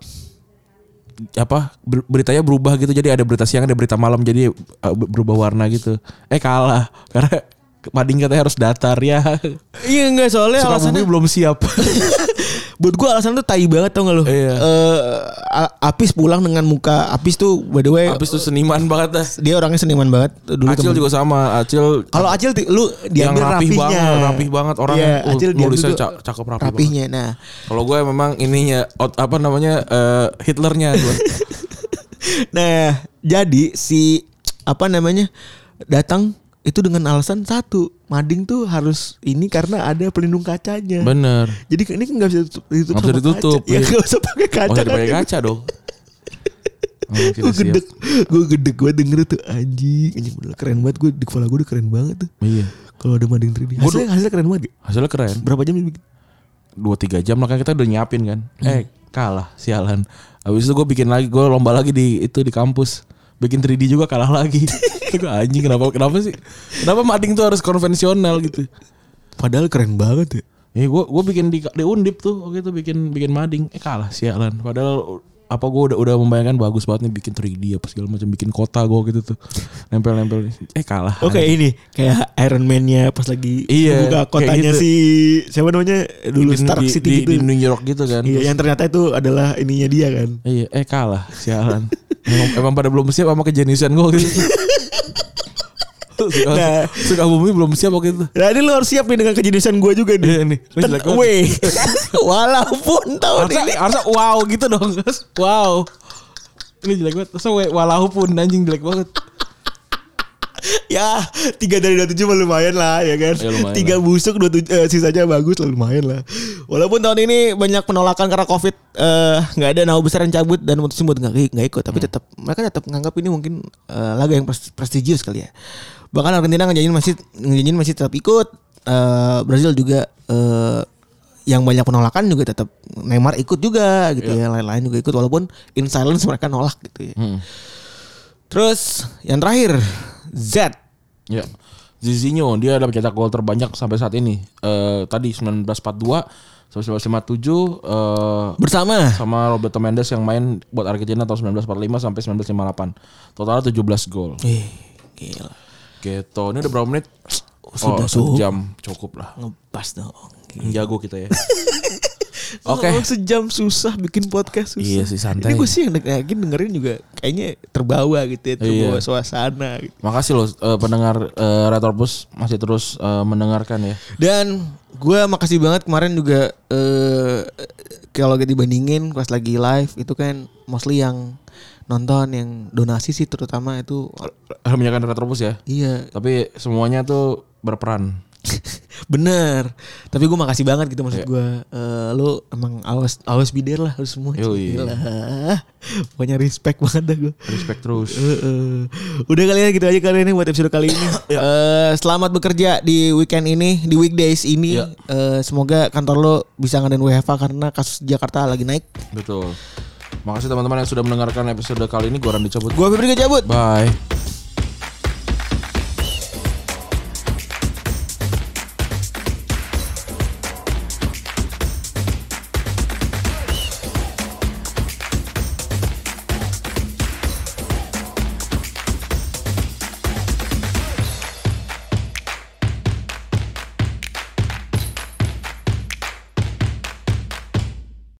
apa ber- beritanya berubah gitu jadi ada berita siang ada berita malam jadi eh, berubah warna gitu eh kalah karena mading katanya harus datar ya Iya enggak soalnya alasannya Sukabumi belum siap buat gue alasan tuh tai banget tau gak lu. Iya. Eh, A- Apis pulang dengan muka Apis tuh by the way habis itu seniman banget dah dia orangnya seniman banget dulu Acil temen- juga sama. Acil Kalau Acil ti- lu yang diambil rapih rapihnya. banget, rapih banget orangnya. Iya, Uh, Acil diambil nulisnya tuh ca- cakep rapih rapihnya. Nah, kalau gue memang ininya out- apa namanya eh, Hitlernya gue. nah jadi si apa namanya datang itu dengan alasan satu mading tuh harus ini karena ada pelindung kacanya. Bener. Jadi ini nggak bisa ditutup, ditutup Nggak bisa sama ditutup, Kaca. Ya iya. nggak usah pakai Oh kaca. tidak pakai kaca dong. Oh, Gue tidak siap. gedek, gue gedek, gue denger tuh anjing, anjing bener keren banget gue di kepala gue udah keren banget tuh. Iya. Kalau ada mading 3D, Gua hasilnya, hasilnya keren banget. gak? Hasilnya keren. Berapa jam dibikin? Dua tiga jam lah kan kita udah nyiapin kan. Iya. Eh kalah sialan. Habis itu gue bikin lagi, gue lomba lagi di itu di kampus. Bikin 3D juga kalah lagi. gue anjing kenapa kenapa sih? Kenapa mading tuh harus konvensional gitu? Padahal keren banget ya. Ya gue gue bikin di, di undip tuh waktu itu bikin bikin mading eh kalah sialan padahal apa gue udah udah membayangkan bagus banget nih bikin 3D apa segala macam bikin kota gue gitu tuh nempel-nempel eh kalah Oke ini Kan? kayak Iron Man-nya pas lagi Iya, kayak buka kotanya gitu. si siapa namanya dulu di, Stark di, City di- gitu. di New York gitu kan iya, yang ternyata itu adalah ininya dia kan. iya eh kalah sialan emang, emang pada belum siap sama kejeniusan gue gitu Nah. suka bumi belum siap waktu itu Nah ini lo harus siap nih dengan kejeniusan gue juga nih. Iya nih, lu Ten- jelek banget. Weh, walaupun tahun harusnya ini harusnya wow gitu dong wow ini jelek banget so walaupun anjing jelek banget ya tiga dari dua tujuh mah lumayan lah ya kan. Ya, lumayan lah. tiga busuk dua tujuh sisanya bagus lah lumayan lah. Walaupun tahun ini banyak penolakan karena covid eh, nggak ada nau besar yang cabut dan mutusin buat nggak nggak ikut Hmm. tapi tetap mereka tetap menganggap ini mungkin eh, laga yang pres- prestigius kali ya. Bahkan Argentina ngejanjin masih ngejanjin masih tetap ikut eh, Brazil juga eh, yang banyak penolakan juga tetap Neymar ikut juga gitu ya, lain-lain juga ikut walaupun in silence mereka nolak gitu ya. Hmm. Terus yang terakhir Z Ya. Zizinho dia ada mencetak gol terbanyak sampai saat ini. Eh tadi 1942 sampai 1957 eh bersama sama Roberto Mendes yang main buat Argentina tahun 1945 sampai 1958. Totalnya 17 gol. Ih, gila. Gitu. Ini udah berapa menit? oh, Sudah, satu Sob. jam cukup lah. Ngepas dong. gitu. Jago kita ya. Oke. Orang sejam susah bikin podcast susah. Iya sih, santai. Ini gue sih yang dengerin, dengerin juga kayaknya terbawa gitu ya, terbawa suasana gitu. Makasih loh eh, pendengar eh, Retropus masih terus eh, mendengarkan ya. Dan gue makasih banget kemarin juga eh kalau kita dibandingin pas lagi live itu kan mostly yang nonton yang donasi sih terutama itu Menyakan Retropus ya. iya Tapi semuanya tuh berperan. bener tapi gue makasih banget gitu Iya. maksud gue lu emang awas awas bider lah lu semua Yoi. Gila. pokoknya respect banget dah gue Respect terus. Eh. Heeh. Udah kali ya gitu aja kali ini buat episode kali ini. Iya. Eh, selamat bekerja di weekend ini, di weekdays ini. Ya. Eh, semoga kantor lo bisa ngadain WFH karena kasus Jakarta lagi naik. Betul. Makasih teman-teman yang sudah mendengarkan episode kali ini. Gua Randy cabut. Gua Febri cabut. Bye.